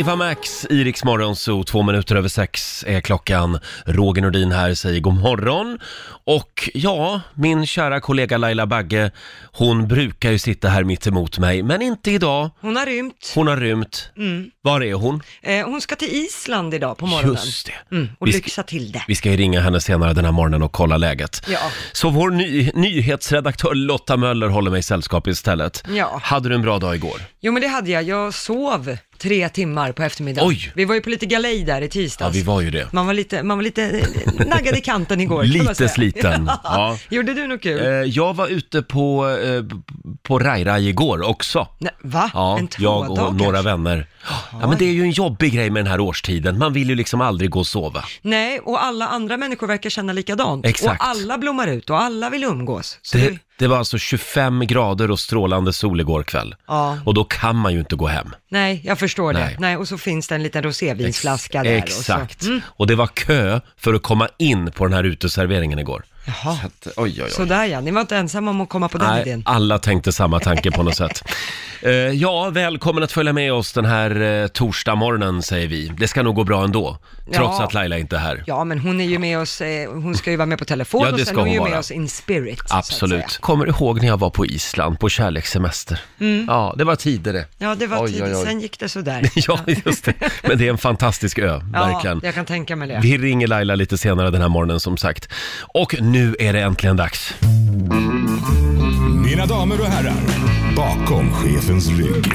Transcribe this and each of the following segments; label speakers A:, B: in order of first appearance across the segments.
A: Ava Max, Iriks morgonzoo, två minuter över sex är klockan. Roger Nordin här säger god morgon. Och ja, min kära kollega Laila Bagge, hon brukar ju sitta här mitt emot mig, men inte idag.
B: Hon har rymt.
A: Hon har rymt.
B: Mm.
A: Var är hon?
B: Eh, hon ska till Island idag på morgonen.
A: Just det.
B: Mm, och
A: Vi ska-
B: lyxa till det.
A: Vi ska ju ringa henne senare den här morgonen och kolla läget.
B: Ja.
A: Så vår ny- nyhetsredaktör Lotta Möller håller mig sällskap istället.
B: Ja.
A: Hade du en bra dag igår?
B: Jo men det hade jag. Jag sov tre timmar på eftermiddagen.
A: Oj.
B: Vi var ju på lite galej där i
A: Ja,
B: tisdags.
A: vi var ju det.
B: Man var lite, man var lite eh, naggad i kanten igår. kan man
A: Lite
B: säga.
A: sliten, ja.
B: Gjorde du något kul?
A: Eh, Jag var ute på, eh, på Rai-Rai igår också.
B: Nej, va?
A: Ja,
B: en
A: jag och
B: tvådagars?
A: några vänner. Ja, men det är ju en jobbig grej med den här årstiden. Man vill ju liksom aldrig gå och sova.
B: Nej, och alla andra människor verkar känna likadant.
A: Exakt.
B: Och alla blommar ut och alla vill umgås. Så
A: Det,
B: det...
A: det var alltså 25 grader och strålande sol igår kväll.
B: Ja.
A: Och då kan man ju inte gå hem.
B: Nej, jag förstår
A: Nej.
B: det. Nej, och så finns det en liten rosévinsflaska där. Och
A: Exakt.
B: så. Mm.
A: Och det var kö för att komma in på den här uteserveringen igår.
B: Jaha.
A: Oj, oj, oj.
B: Sådär ja, ni var inte ensamma om att komma på den
A: Nej,
B: idén.
A: alla tänkte samma tanke på något sätt. Eh, ja, välkommen att följa med oss den här uh, torsdagmorgonen säger vi. Det ska nog gå bra ändå, trots
B: Ja.
A: att Laila inte är här.
B: Ja, men hon är ju med oss, eh, hon ska ju vara med på telefon
A: Ja, det
B: och
A: ska
B: sen är
A: hon
B: ju
A: vara.
B: med oss in spirit. så att
A: Absolut.
B: säga.
A: Kommer du ihåg när jag var på Island på kärlekssemester?
B: Mm.
A: Ja, det var tider det.
B: Ja, det var
A: Oj, oj,
B: tidigt,
A: oj.
B: sen gick det sådär.
A: Ja, just det. Men det är en fantastisk ö, verkligen.
B: jag kan tänka mig det.
A: Vi ringer Laila lite senare den här morgonen som sagt. Och nu är det äntligen dags.
C: Mina damer och herrar, bakom chefens rygg.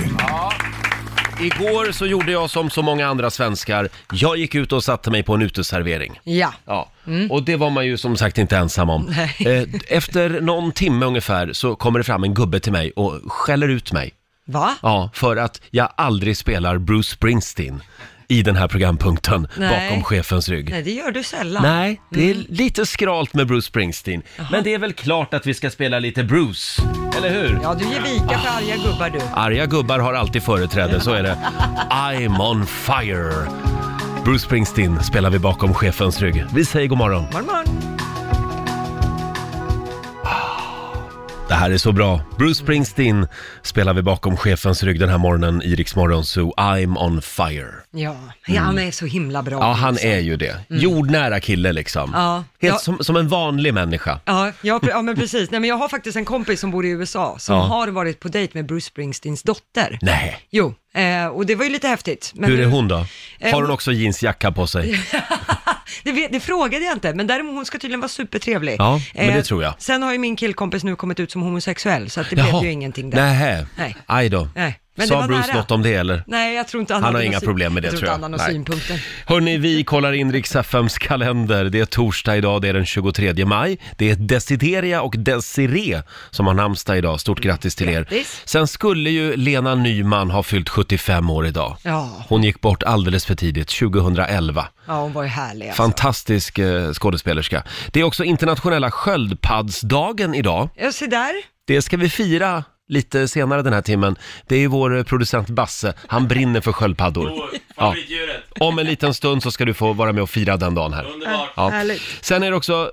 A: Igår så gjorde jag som så många andra svenskar. Jag gick ut och satte mig på en uteservering.
B: Ja,
A: Ja, och det var man ju som sagt inte ensam om.
B: Mm. Nej.
A: Eh, Efter någon timme ungefär så kommer det fram en gubbe till mig och skäller ut mig.
B: va?
A: Ja, för att jag aldrig spelar Bruce Springsteen i den här programpunkten
B: Nej.
A: bakom chefens rygg. Nej.
B: Nej, Mm. det gör du sällan.
A: det är lite skralt med Bruce Springsteen. Men det är väl klart att vi ska spela lite Bruce, eller hur?
B: Ja, du ger vika för arga gubbar du.
A: Arga gubbar har alltid företräde, så är det. I'm on fire! Bruce Springsteen spelar vi bakom chefens rygg. Vi säger god morgon.
B: Morgon, morgon.
A: Det här är så bra. Bruce Springsteen spelar vi bakom chefens rygg den här morgonen i Rix Morgon Zoo. I'm on fire.
B: Ja, han är så himla bra.
A: Ja, han är ju det. Jordnära kille liksom.
B: Mm. Ja.
A: Helt
B: Ja.
A: som, som en vanlig människa.
B: Ja, ja, pre- ja, men precis. Nej, men jag har faktiskt en kompis som bor i USA som
A: Ja.
B: har varit på dejt med Bruce Springsteens dotter.
A: Nej.
B: Jo, eh, och det var ju lite häftigt. Men
A: Hur är
B: nu-
A: hon då?
B: Eh,
A: Har hon
B: hon-
A: också jeansjacka på sig?
B: Det, vet, det frågade jag inte, men däremot hon ska tydligen vara supertrevlig. Eh,
A: Ja, men det tror jag.
B: Sen har ju min killkompis nu kommit ut som homosexuell, så att det blev ju ingenting där.
A: Nähä.
B: Nej.
A: Aj då.
B: Nej, men det
A: Sa
B: var
A: Bruce
B: nära.
A: något om det eller?
B: Nej, jag tror inte han,
A: Han har
B: hade
A: inga
B: någon syn-
A: problem med det tror jag.
B: Jag tror inte han har
A: Nej.
B: några synpunkter.
A: Hörni, vi kollar in Rix FMs kalender. Det är torsdag idag, det är den 23 maj. Det är Desideria och Desiree som har namnsdag idag. Stort grattis till er.
B: Grattis.
A: Sen skulle ju Lena Nyman ha fyllt 75 år idag.
B: Ja.
A: Hon gick bort alldeles för tidigt, 2011.
B: Ja, hon var ju härlig alltså.
A: Fantastisk eh, skådespelerska. Det är också internationella sköldpaddsdagen idag.
B: Ja, se där.
A: Det ska vi fira lite senare den här timmen. Det är ju vår eh, producent Basse, han brinner för sköldpaddor. Ja.
D: Favoritdjuret.
A: Om en liten stund så ska du få vara med och fira den dagen här.
D: Underbart.
A: Ja.
B: Härligt.
A: Sen är det också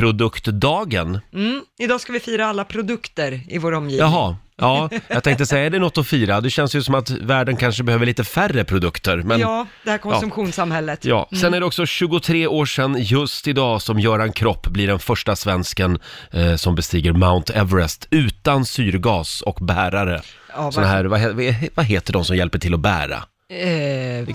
A: världsproduktdagen.
B: Mm. Idag ska vi fira alla produkter i vår omgivning.
A: Jaha, ja, jag tänkte säga, är det något att fira? Det känns ju som att världen kanske behöver lite färre produkter. Men...
B: Ja, det här konsumtionssamhället.
A: Ja, sen är det också 23 år sedan just idag som Göran Kropp blir den första svensken eh, som bestiger Mount Everest utan syrgas och bärare.
B: Ja, vad-
A: Såna här, vad, he- vad heter de som hjälper till att bära?
B: Eh, b-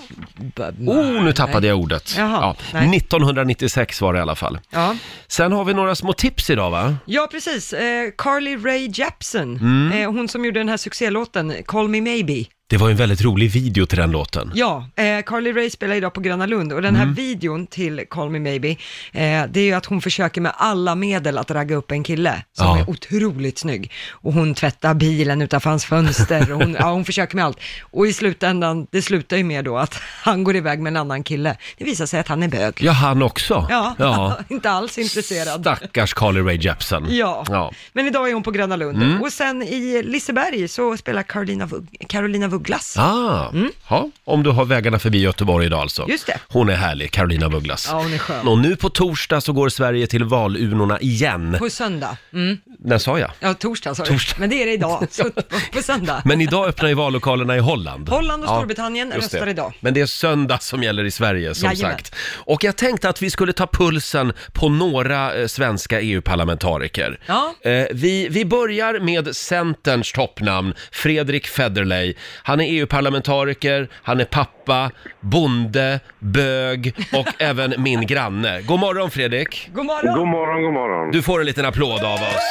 B: b-
A: Oh, nu tappade jag ordet.
B: Jaha,
A: ja,
B: nej.
A: 1996 var det i alla fall.
B: Ja.
A: Sen har vi några små tips idag va?
B: Ja, precis. Eh, Carly Rae Jepsen,
A: Mm.
B: eh, hon som gjorde den här succélåten Call Me Maybe.
A: Det var ju en väldigt rolig video till den låten.
B: Ja, eh, Carly Rae spelar idag på Gröna Lund och den här videon till Call Me Maybe, eh, det är ju att hon försöker med alla medel att ragga upp en kille som
A: Ja.
B: är otroligt snygg. Och hon tvättar bilen utanför hans fönster och hon, ja, hon försöker med allt. Och i slutändan, det slutar ju med då att han går iväg med en annan kille. Det visar sig att han är bög.
A: Ja, han också.
B: Ja, inte alls intresserad.
A: Stackars Carly Rae Jepsen.
B: Ja. Mm. men idag är hon på Gröna Lund. Och sen i Liseberg så spelar Carolina, Vug- Carolina Vugglas.
A: Ah, ja, om du har vägarna förbi Göteborg idag alltså.
B: Mm. Just det.
A: Hon är härlig, Carolina Douglas.
B: Ja, hon är skön.
A: Och nu på torsdag så går Sverige till valurnorna igen.
B: På söndag. Mm.
A: När sa jag?
B: Ja, torsdag sa du.
A: Torsdag.
B: Men det är det idag, så på, på söndag.
A: Men idag öppnar ju vallokalerna i Holland.
B: Holland och Storbritannien
A: just
B: röstar
A: det.
B: idag.
A: Men det är söndag som gäller i Sverige som
B: Jajamän.
A: sagt. Och jag tänkte att vi skulle ta pulsen på några eh, svenska EU-parlamentariker.
B: Ja.
A: Eh, vi, vi börjar med Centerns toppnamn, Fredrik Federley. Han är EU-parlamentariker, han är pappa, bonde, bög och även min granne. God morgon Fredrik!
B: God morgon!
D: God morgon, god morgon.
A: Du får en liten applåd av oss.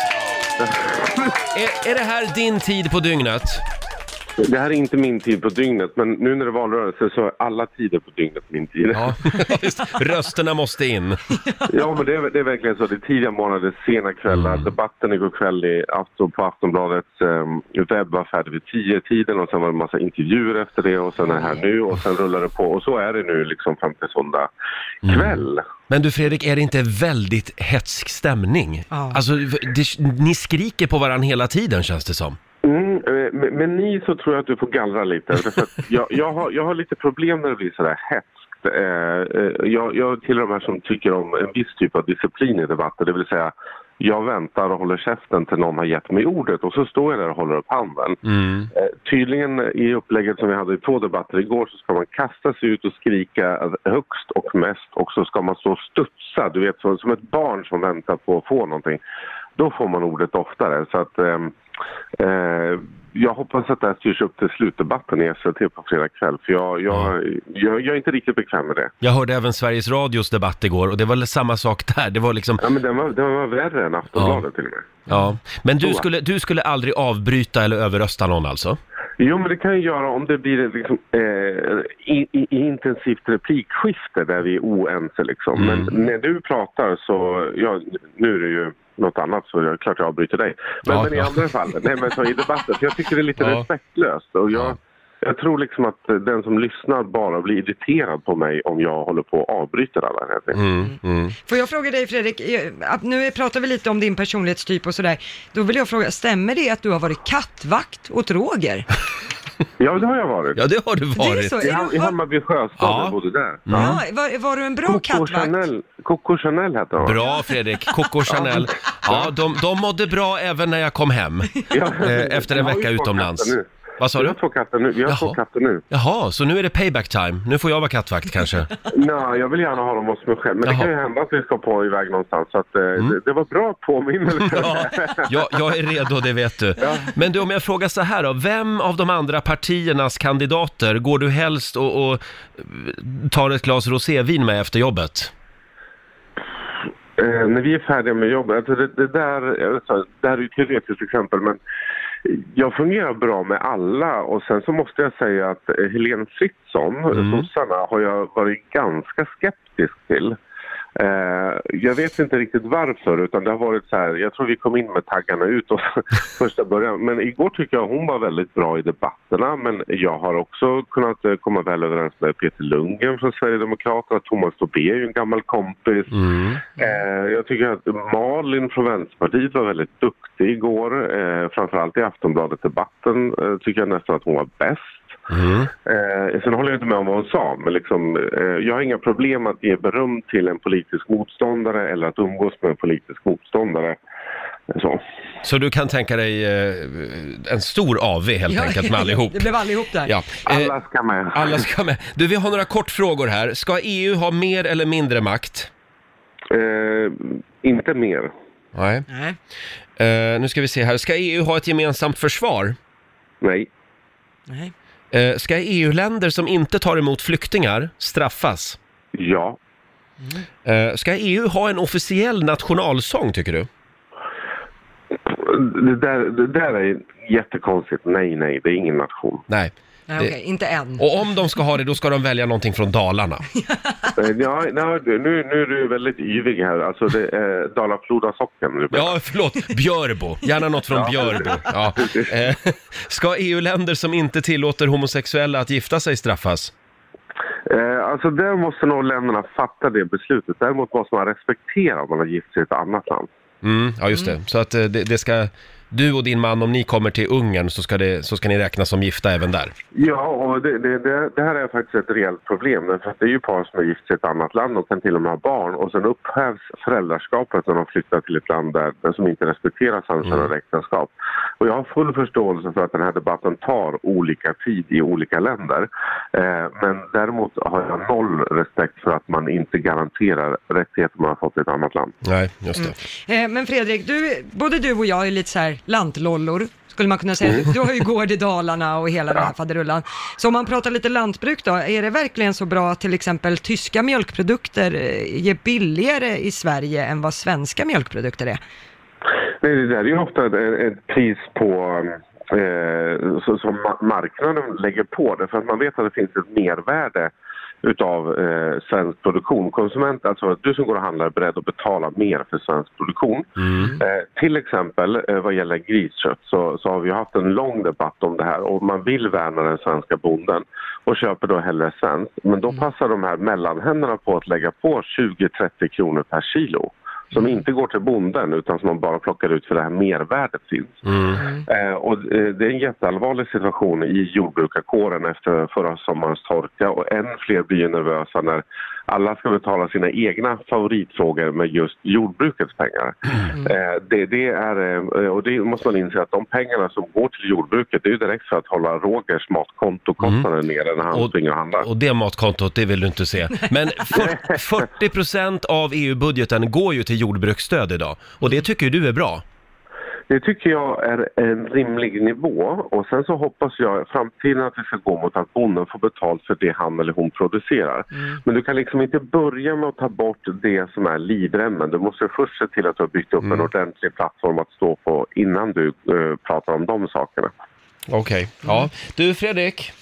A: Är, är det här din tid på dygnet?
D: Det här är inte min tid på dygnet, men nu när det är valrörelse så är alla tider på dygnet min tid. Ja,
A: Ja, just. Rösterna måste in.
D: men det är, det är verkligen så. Det är tidiga morgnar, sena kvällar. Debatten igår kväll i afton, på Aftonbladets um, webb var färdig vid tio tiden och sen var det en massa intervjuer efter det och sen är det här nu och sen rullar det på. Och så är det nu liksom fram till söndag kväll.
A: Men du Fredrik, är det inte väldigt hetsk stämning?
B: Ja.
A: Alltså, det, ni skriker på varandra hela tiden känns det som.
D: Mm, eh, men, men ni så tror jag att du får gallra lite. Därför att jag, jag, har, jag har lite problem när det blir sådär hetskt. Eh, eh, jag, jag tillhör de här som tycker om en viss typ av disciplin i debatter. Det vill säga, jag väntar och håller käften till någon har gett mig ordet och så står jag där och håller upp handen. Eh, tydligen i upplägget som vi hade i två debatter igår så ska man kasta sig ut och skrika högst och mest och så ska man stå och studsa, du vet så, som ett barn som väntar på att få någonting. Då får man ordet oftare. Så att, ehm, eh, jag hoppas att det här styrs upp till slutdebatten i SVT på fredag kväll för jag, jag, jag, jag är inte riktigt bekväm med det.
A: Jag hörde även Sveriges Radios debatt igår och det var samma sak där. Det var liksom,
D: Ja, men den, var, den var värre än Aftonbladet till och med.
A: ja. Men du skulle, du skulle aldrig avbryta eller överrösta någon alltså?
D: Jo, men det kan jag göra om det blir ett liksom, eh, i, i, i intensivt replikskifte där vi är oense. Liksom.
A: Mm.
D: Men när du pratar så, ja, nu är det ju något annat så jag, klart jag avbryter dig. Men,
A: Ja,
D: men i
A: ja.
D: andra fall, nej men så i debatten, för jag tycker det är lite
A: Ja.
D: respektlöst. Och jag,
A: Ja.
D: jag tror liksom att eh, den som lyssnar bara blir irriterad på mig om jag håller på och avbryter alla. Här. Mm.
A: Mm, mm.
B: Får jag fråga dig Fredrik, eh, att nu pratar vi lite om din personlighetstyp och sådär. Då vill jag fråga, stämmer det att du har varit kattvakt åt Roger?
D: Ja, det har jag varit.
A: Ja, det Mm. har du
B: Det är
A: varit.
B: så,
D: I,
B: är
D: Ham-
B: du,
D: I
B: var,
D: Hammarby sjöstad,
A: Ja.
D: jag bodde där.
B: ja, var, var du en bra
D: Coco
B: kattvakt?
D: Chanel, Coco Chanel hette hon.
A: Bra Fredrik, Coco Chanel. Ja, de, de mådde bra även när jag kom hem
D: Ja.
A: eh, efter en
D: Jag har ju
A: vecka
D: två
A: utomlands.
D: katter nu.
A: Vad sa
D: Vi
A: du?
D: har två katter nu. Vi har
A: Jaha.
D: två katter nu.
A: Jaha, så nu är det payback time. Nu får jag vara kattvakt kanske.
D: Nej, jag vill gärna ha dem hos mig själv. Men
A: Jaha. Mm.
D: det kan ju hända att vi ska på iväg någonstans. Så att, eh, det, det var bra påminnelse.
A: Ja, jag, jag är redo, det vet du. Men du, om jag frågar så här då. Vem av de andra partiernas kandidater går du helst och, och tar ett glas rosévin med efter jobbet?
D: Eh, när vi är färdiga med jobbet. Alltså det, det, där, jag vet inte, det här är ju ett teoretiskt exempel. Men jag fungerar bra med alla. Och sen så måste jag säga att eh, Helene Fritzon, sossarna, har jag varit ganska skeptisk till. Eh, jag vet inte riktigt varför, utan det har varit så här, jag tror vi kom in med taggarna ut och första början. Men igår tycker jag hon var väldigt bra i debatterna, men jag har också kunnat eh, komma väl överens med Peter Lundgren från Sverigedemokraterna, Thomas Tobé är ju en gammal kompis.
A: Mm.
D: Eh, jag tycker att Malin från Vänsterpartiet var väldigt duktig igår, eh, framförallt i Aftonbladet-debatten eh, tycker jag nästan att hon var bäst.
A: Mm.
D: Eh, sen håller jag inte med om vad hon sa, men liksom, eh, jag har inga problem att ge beröm till en politisk motståndare eller att umgås med en politisk motståndare. Så.
A: Så du kan tänka dig eh, en stor AV helt enkelt med allihop?
B: Det blev allihop där.
A: Ja. Eh,
D: Alla ska med.
A: alla ska med. Du, vi har några kortfrågor här. Ska EU ha mer eller mindre makt?
D: Eh, inte mer.
A: Nej.
B: Nej.
A: Eh, nu ska vi se här. Ska EU ha ett gemensamt försvar?
D: Nej.
B: Nej.
A: Eh, ska EU-länder som inte tar emot flyktingar straffas?
D: Ja.
A: Eh, ska EU ha en officiell nationalsång tycker du?
D: Det där, det där är jättekonstigt. Nej, nej, det är ingen nation.
A: Nej.
B: Nej,
A: Det-
B: okej, inte än.
A: Och om de ska ha det, då ska de välja någonting från Dalarna.
D: Eh, ja, nej, nu, nu är du väldigt yvig här. Alltså, det är Dala-Floda socken. nu.
A: Ja, förlåt, Björbo. Gärna något från Björbo. Ja. Eh, ska EU-länder som inte tillåter homosexuella att gifta sig straffas?
D: Eh, alltså, där måste nog länderna fatta det beslutet. Däremot måste man respektera om man har gift sig i ett annat land.
A: Mm, ja, just det. Så att eh, det, det ska... Du och din man, om ni kommer till Ungern så ska, det, så ska ni räknas som gifta även där.
D: Ja, och det, det, det, det här är faktiskt ett reellt problem. För att det är ju par som är gift i ett annat land och kan till och med ha barn och sen upphävs föräldraskapet när de flyttar till ett land där, där som inte respekterar samkönade äktenskap. Och jag har full förståelse för att den här debatten tar olika tid i olika länder. Eh, men däremot har jag noll respekt för att man inte garanterar rättigheter man har fått i ett annat land.
A: Nej, just det.
B: Eh, men Fredrik, du, både du och jag är lite så här lantlollor, skulle man kunna säga. Du, du har ju gård i Dalarna och hela den här faderullan. Så om man pratar lite lantbruk då, är det verkligen så bra att till exempel tyska mjölkprodukter eh, är billigare i Sverige än vad svenska mjölkprodukter är?
D: Nej, det där är ju ofta ett, ett pris på eh, så- som ma- marknaden lägger på det för att man vet att det finns ett mervärde utav eh, svensk produktion. Konsument, alltså du som går och handlar är beredd att betala mer för svensk produktion. Eh, till exempel eh, vad gäller griskött så, så har vi haft en lång debatt om det här och man vill värna den svenska bonden och köper då hellre svenskt. Men då passar de här mellanhänderna på att lägga på 20-30 kronor per kilo som inte går till bonden utan som man bara plockar ut för det här mervärdet finns. Eh, och eh, det är en jätteallvarlig situation i jordbrukarkåren efter förra sommarens torka och än fler blir ju nervösa när alla ska betala sina egna favoritfrågor med just jordbrukets pengar. Eh, det, det är, eh, och det måste man inse att de pengarna som går till jordbruket det är ju direkt för att hålla Rogers matkontokostnader nere när han
A: Och-
D: springer och handlar.
A: Och det matkontot, det vill du inte se. Men 40 procent av EU-budgeten går ju till jordbruksstöd idag. Och det tycker ju du är bra.
D: Det tycker jag är en rimlig nivå och sen så hoppas jag i framtiden att vi ska gå mot att bonden får betalt för det han eller hon producerar.
A: Mm.
D: Men du kan liksom inte börja med att ta bort det som är livremmen. Du måste först se till att du har byggt upp en
A: Mm.
D: ordentlig plattform att stå på innan du eh, pratar om de sakerna.
A: Okej. Ja. Du Fredrik,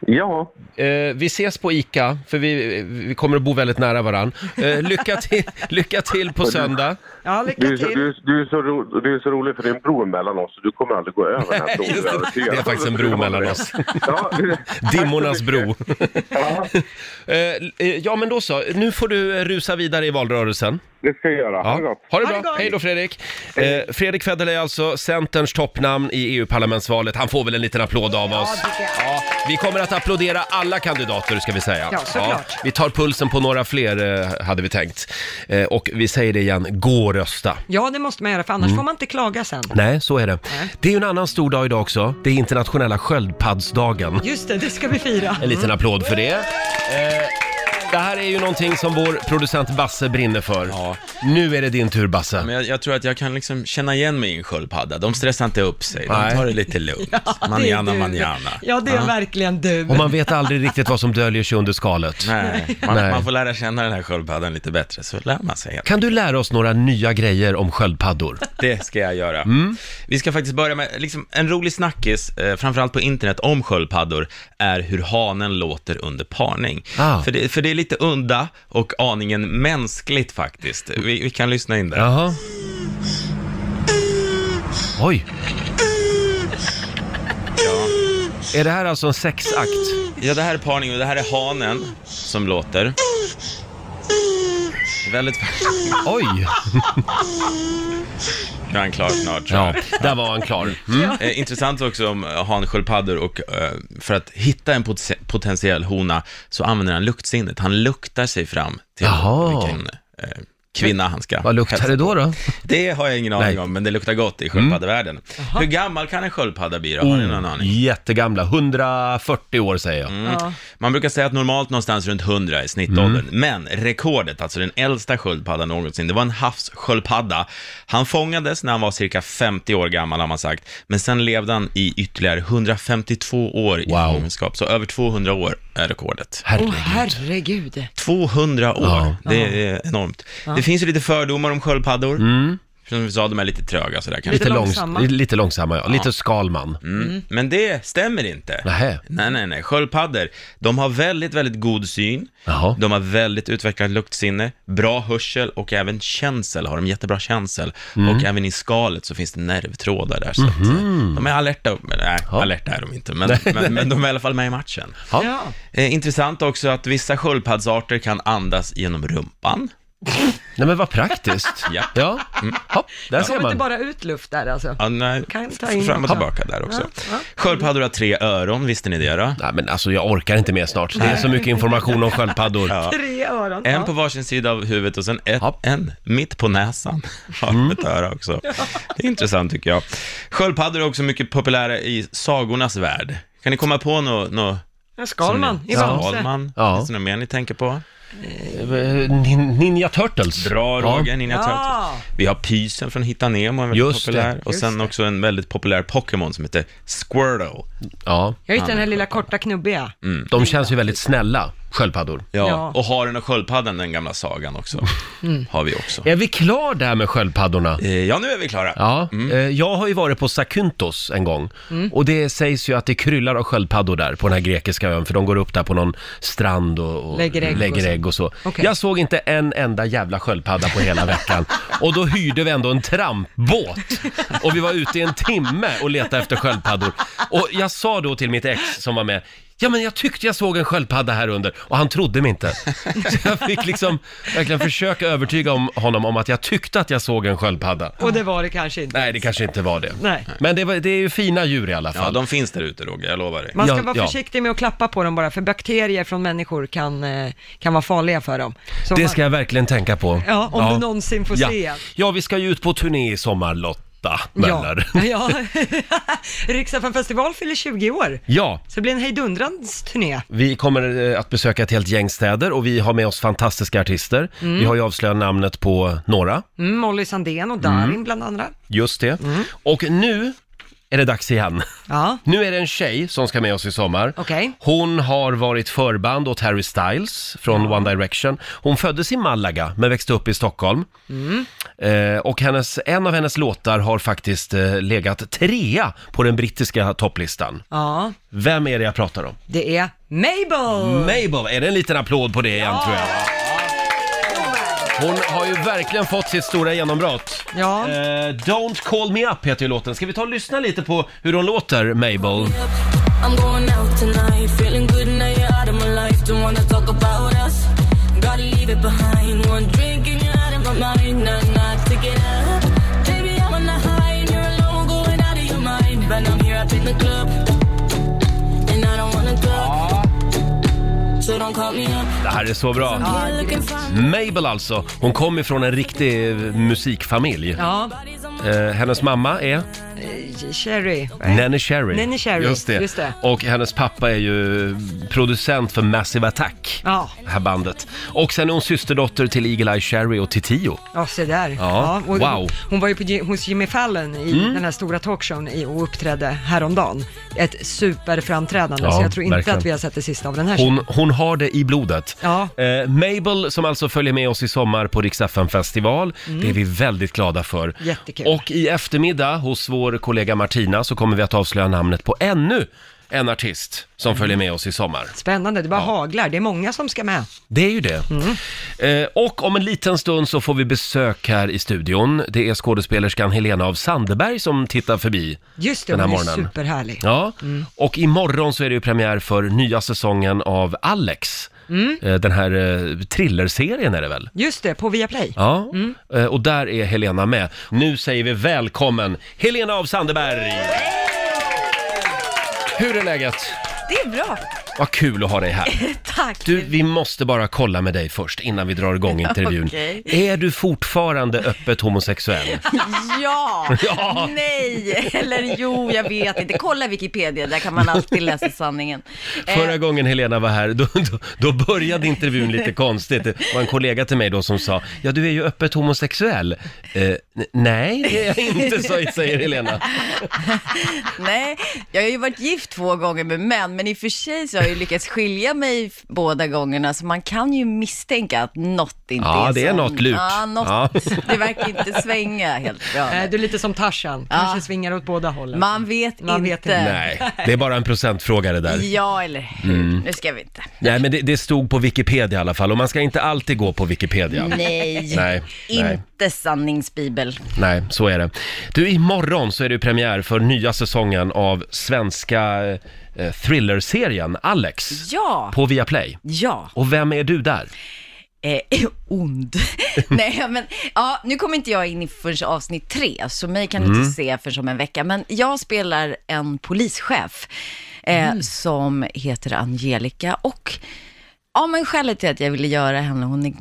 D: Ja,
A: eh, vi ses på ICA, för vi, vi kommer att bo väldigt nära varann. Eh, lycka, till, lycka till på söndag.
B: Ja,
D: du är,
B: lycka
D: så, du,
B: till.
D: är, du, är så ro, du är så rolig för det är en bro mellan oss och du kommer aldrig gå över den här bron.
A: Just det.
D: jag är övertygad.
A: Det är faktiskt en bro mellan oss.
D: Ja,
A: Dimmornas bro.
D: Ja,
A: Eh, eh, ja, men då så. Nu får du eh, rusa vidare i valrörelsen.
D: det ska jag göra. Ha det
A: Ja.
D: gott.
A: Ha det
B: Ha det
A: bra.
B: gott.
A: Hej då Fredrik. Eh, Fredrik Federley är alltså Centerns toppnamn i EU-parlamentsvalet. Han får väl en liten applåd av oss. Ja, vi kommer att applådera alla kandidater ska vi säga.
B: Ja, såklart.
A: vi tar pulsen på några fler eh, hade vi tänkt. Eh, och vi säger det igen, gå och rösta.
B: Ja, det måste man göra, för annars får man inte klaga sen.
A: Nej, så är det. Det är ju en annan stor dag idag också. Det är internationella sköldpaddsdagen.
B: Just det, det ska vi fira.
A: En liten applåd för det. Eh, det här är ju någonting som vår producent Basse brinner för.
E: Ja.
A: Nu är det din tur Basse.
E: Men jag, jag tror att jag kan liksom känna igen mig i en sköldpadda. De stressar inte upp sig, de
A: Nej.
E: tar det lite lugnt.
B: Det är
E: manjana,
B: du.
E: manjana.
B: Ja, det är verkligen du.
A: Och man vet aldrig riktigt vad som döljer sig under skalet.
E: Nej, man,
A: Nej.
E: man får lära känna den här sköldpaddan lite bättre, så lär man sig.
A: Kan du lära oss några nya grejer om sköldpaddor?
E: Det ska jag göra.
B: Mm.
E: Vi ska faktiskt börja med, liksom, en rolig snackis, eh, framförallt på internet, om sköldpaddor, är hur hanen låter under parning.
A: Ah.
E: För, det, för det är lite udda och aningen mänskligt faktiskt. Vi, vi kan lyssna in där.
A: Jaha. Oj. Är det här alltså en sexakt?
E: Ja, det här är parning och det här är hanen som låter. Väldigt...
A: Oj!
E: Nu är han klar snart. tror jag.
A: Ja, där var han klar. Mm.
E: Eh, intressant också om eh, hansköldpaddor och eh, för att hitta en pot- potentiell hona så använder han luktsinnet. Han luktar sig fram till
A: Jaha.
E: vilken eh, kvinna han ska
A: Vad luktar
E: hälsa
A: det då då?
E: Det har jag ingen aning
A: Nej.
E: om, men det luktar gott i sköldpaddevärlden. Hur gammal kan en sköldpadda bli då? Har ni någon
A: Oh,
E: aning?
A: Mm. Jättegamla, 140 år säger jag.
B: Ja.
E: Man brukar säga att normalt någonstans runt 100 är snittåldern,
A: Mm.
E: men rekordet, alltså den äldsta sköldpaddan någonsin, det var en havssköldpadda. Han fångades när han var cirka 50 år gammal har man sagt, men sen levde han i ytterligare 152 år i
A: Wow.
E: fångenskap, så över 200 år är rekordet.
B: Åh,
A: Herregud.
B: herregud.
E: 200 år,
A: Ja.
E: det är enormt. Det finns ju lite fördomar om sköldpaddor. Som vi sa, de är lite tröga sådär kanske.
A: Mm. Lite,
B: Lite
A: långs
B: långsamma.
A: lite långsamma, ja. Lite Skalman.
E: Mm. Men det stämmer inte.
A: Nähä.
E: Nej, nej, nej. Sköldpaddor, de har väldigt, väldigt god syn.
A: Jaha.
E: De har väldigt utvecklat luktsinne, bra hörsel och även känsel har de jättebra känsel.
B: Mm.
E: Och även i skalet så finns det nervtrådar där. Så att, eh,
B: Mhm.
E: de är alerta, upp- men nej, alerta är de inte, men, men, men de är i alla fall med i matchen.
A: Ja.
B: Ja.
E: Eh, intressant också att vissa sköldpaddsarter kan andas genom rumpan.
A: Nej men vad praktiskt.
E: Ja.
A: Ja, Hopp, där ser
B: Kommer inte
A: man.
B: bara ut luft där alltså?
E: Ja, nej,
B: Kan ta in
E: fram och
B: också.
E: tillbaka där också.
B: Ja, ja.
E: Sköldpaddor har tre öron, visste ni det då?
A: Nej men alltså jag orkar inte mer snart. Det är så mycket information om sköldpaddor.
E: Ja.
B: Tre öron.
E: En
B: ja.
E: på varsin sida av huvudet och sen ett,
A: Ja. Mm.
E: en mitt på näsan har ett öra också. Det är intressant tycker jag. Sköldpaddor är också mycket populära i sagornas värld. Kan ni komma på något? No,
B: Ja, Skalman i Bamse.
E: Skalman?
A: Ja.
E: Finns det något mer ni tänker på?
A: Eh, Nin- Ninja Turtles.
E: Bra Roger, Ninja
B: Ja.
E: Turtles. Vi har Pysen från Hitta Nemo, en väldigt
A: Just det,
E: populär. och
B: just
E: sen också en väldigt populär Pokémon som heter Squirtle.
A: Ja.
B: Jag hittade den här lilla korta knubbiga.
A: De känns ju väldigt snälla, sköldpaddor.
E: Ja,
B: Ja.
E: och haren och sköldpaddan, den gamla sagan också,
A: Mm.
E: har vi också.
A: Är vi klar där med sköldpaddorna?
E: Eh, Ja, nu är vi klara.
A: Ja,
B: Mm.
A: eh, jag har ju varit på Zakynthos en gång och det sägs ju att det kryllar av sköldpaddor där på den här grekiska ön för de går upp där på någon strand och, och
B: Lägger ägg och så.
A: ägg och så.
B: Okej.
A: Jag såg inte en enda jävla sköldpadda på hela veckan och då hyrde vi ändå en trampbåt och vi var ute i en timme och letade efter sköldpaddor och jag sa då till mitt ex som var med Ja men jag tyckte jag såg en sköldpadda här under och han trodde mig inte. Så jag fick liksom verkligen försöka övertyga om honom om att jag tyckte att jag såg en sköldpadda.
B: Och det var det kanske inte.
A: Nej, det kanske inte var det.
B: Nej.
A: Men det, var, det är ju fina djur i alla
E: Ja,
A: fall.
E: de finns där ute Roger, jag lovar dig.
B: Man ska
A: Ja,
B: vara
A: ja.
B: försiktig med att klappa på dem bara, för bakterier från människor kan, eh, kan vara farliga för dem. Så
A: Det
B: man-
A: ska jag verkligen tänka på.
B: Ja, om du någonsin får
A: ja.
B: se.
A: Ja, vi ska ju ut på turné i sommar, Lotta Möller.
B: Ja, ja. Riksdagen festival fyller 20 år.
A: Ja.
B: Så det blir en hejdundrans turné.
A: Vi kommer eh, att besöka ett helt gäng städer och vi har med oss fantastiska artister. Vi har ju avslöjat namnet på några,
B: Mm, Molly Sandén och Darin
A: Mm.
B: bland andra.
A: just det.
B: Mm.
A: Och nu är det dags igen.
B: Ja,
A: Nu är det en tjej som ska med oss i sommar.
B: Okej.
A: Hon har varit förband åt Harry Styles från One Direction. Hon föddes i Malaga men växte upp i Stockholm.
B: Mm.
A: Eh, och hennes, en av hennes låtar har faktiskt eh, legat trea på den brittiska topplistan.
B: ja,
A: Vem är det jag pratar om?
B: det är Mabel!
A: Mabel! Är det en liten applåd på det igen tror jag? Hon har ju verkligen fått sitt stora genombrott.
B: Ja,
A: Eh, Don't call me up heter ju låten. Ska vi ta och lyssna lite på hur hon låter, Mabel?
F: I'm going out tonight, feeling good now you're out of my life. Don't wanna talk about us, gotta leave it behind. One drink and you're out of my mind, nah, nah, take it up. Baby, I'm on the high and you're alone, going out of your mind. But I'm here up in the club, and I don't wanna talk. So don't call me up.
A: Det här är så bra.
F: Here looking for me.
A: Mabel alltså, hon kommer från en riktig eh, musikfamilj.
B: ja.
A: Eh, hennes mamma är
B: Eh, Cherry.
A: Nanny Cherry.
B: Nanny Cherry,
A: Just det.
B: just det.
A: Och hennes pappa är ju producent för Massive Attack,
B: Ja.
A: det här bandet. Och sen är hon systerdotter till Eagle-Eye Cherry och Titio.
B: Ja, se där.
A: Ja,
B: och
A: wow. Mm.
B: Hon var ju på, Ji- hos Jimmy Fallon i den här stora talkshowen i- och uppträdde häromdagen. Ett superframträdande,
A: Ja,
B: så jag tror inte
A: verkligen.
B: att vi har sett det sista av den här.
A: Hon, hon har det i blodet.
B: Ja.
A: Eh, Mabel som alltså följer med oss i sommar på Rix FM festival. Det är vi väldigt glada för.
B: Mm. Jättekul.
A: Och i eftermiddag hos vår kollega Martina så kommer vi att avslöja namnet på ännu en artist som följer med oss i sommar.
B: Spännande, det bara haglar. Det är många som ska med.
A: Det är ju det. Eh, och om en liten stund så får vi besök här i studion. Det är skådespelerskan Helena av Sandeberg som tittar förbi.
B: Just det,
A: Den
B: hon
A: här
B: är Mm.
A: morgonen.
B: superhärlig.
A: Ja, och imorgon så är det ju premiär för nya säsongen av Alex.
B: Mm.
A: Eh, Den här eh, thrillerserien är det väl?
B: Just det, på Viaplay.
A: Ja,
B: Mm.
A: Eh, och där är Helena med. Nu säger vi välkommen Helena av Sandeberg! Hur är läget?
G: Det är bra.
A: Vad kul att ha dig här.
G: Tack.
A: Du, vi måste bara kolla med dig först innan vi drar igång intervjun.
G: Okej.
A: Är du fortfarande öppet homosexuell?
G: Ja.
A: Ja.
G: Nej, eller jo, jag vet inte. Kolla Wikipedia, där kan man alltid läsa sanningen. Eh,
A: Förra gången Helena var här, då, då, då började intervjun lite konstigt. Det var en kollega till mig då som sa, ja du är ju öppet homosexuell. Eh, n- nej, det är jag inte, sa- säger Helena.
G: Nej, jag har ju varit gift två gånger med män, men i och för sig så har jag ju lyckats skilja mig f- båda gångerna, så man kan ju misstänka att något inte
A: Ja,
G: är
A: det är
G: sant.
A: något lut.
G: Ja, något.
A: Ja.
G: Det verkar inte svänga helt bra.
B: Eh, Du är lite som Tarzan, kanske svingar åt båda hållen.
G: Man vet
B: Man
G: inte.
B: vet inte.
A: Nej, det är bara en procentfråga det där.
G: Ja, eller hur?
A: Mm.
G: Nu ska vi inte.
A: Nej, men det, det stod på Wikipedia i alla fall och man ska inte alltid gå på Wikipedia.
G: Nej,
A: Nej, nej.
G: inte sanningsbibel.
A: Nej, så är det. Du, imorgon så är det ju premiär för nya säsongen av svenska eh, thrillerserien Alex
G: Ja,
A: på Viaplay.
G: ja.
A: Och vem är du där?
G: eh, ond. Nej, men ja, nu kommer inte jag in i förrän avsnitt tre, så mig kan du inte se förrän om en vecka. Men jag spelar en polischef eh, som heter Angelica och ja, men skälet till att jag ville göra henne, hon är,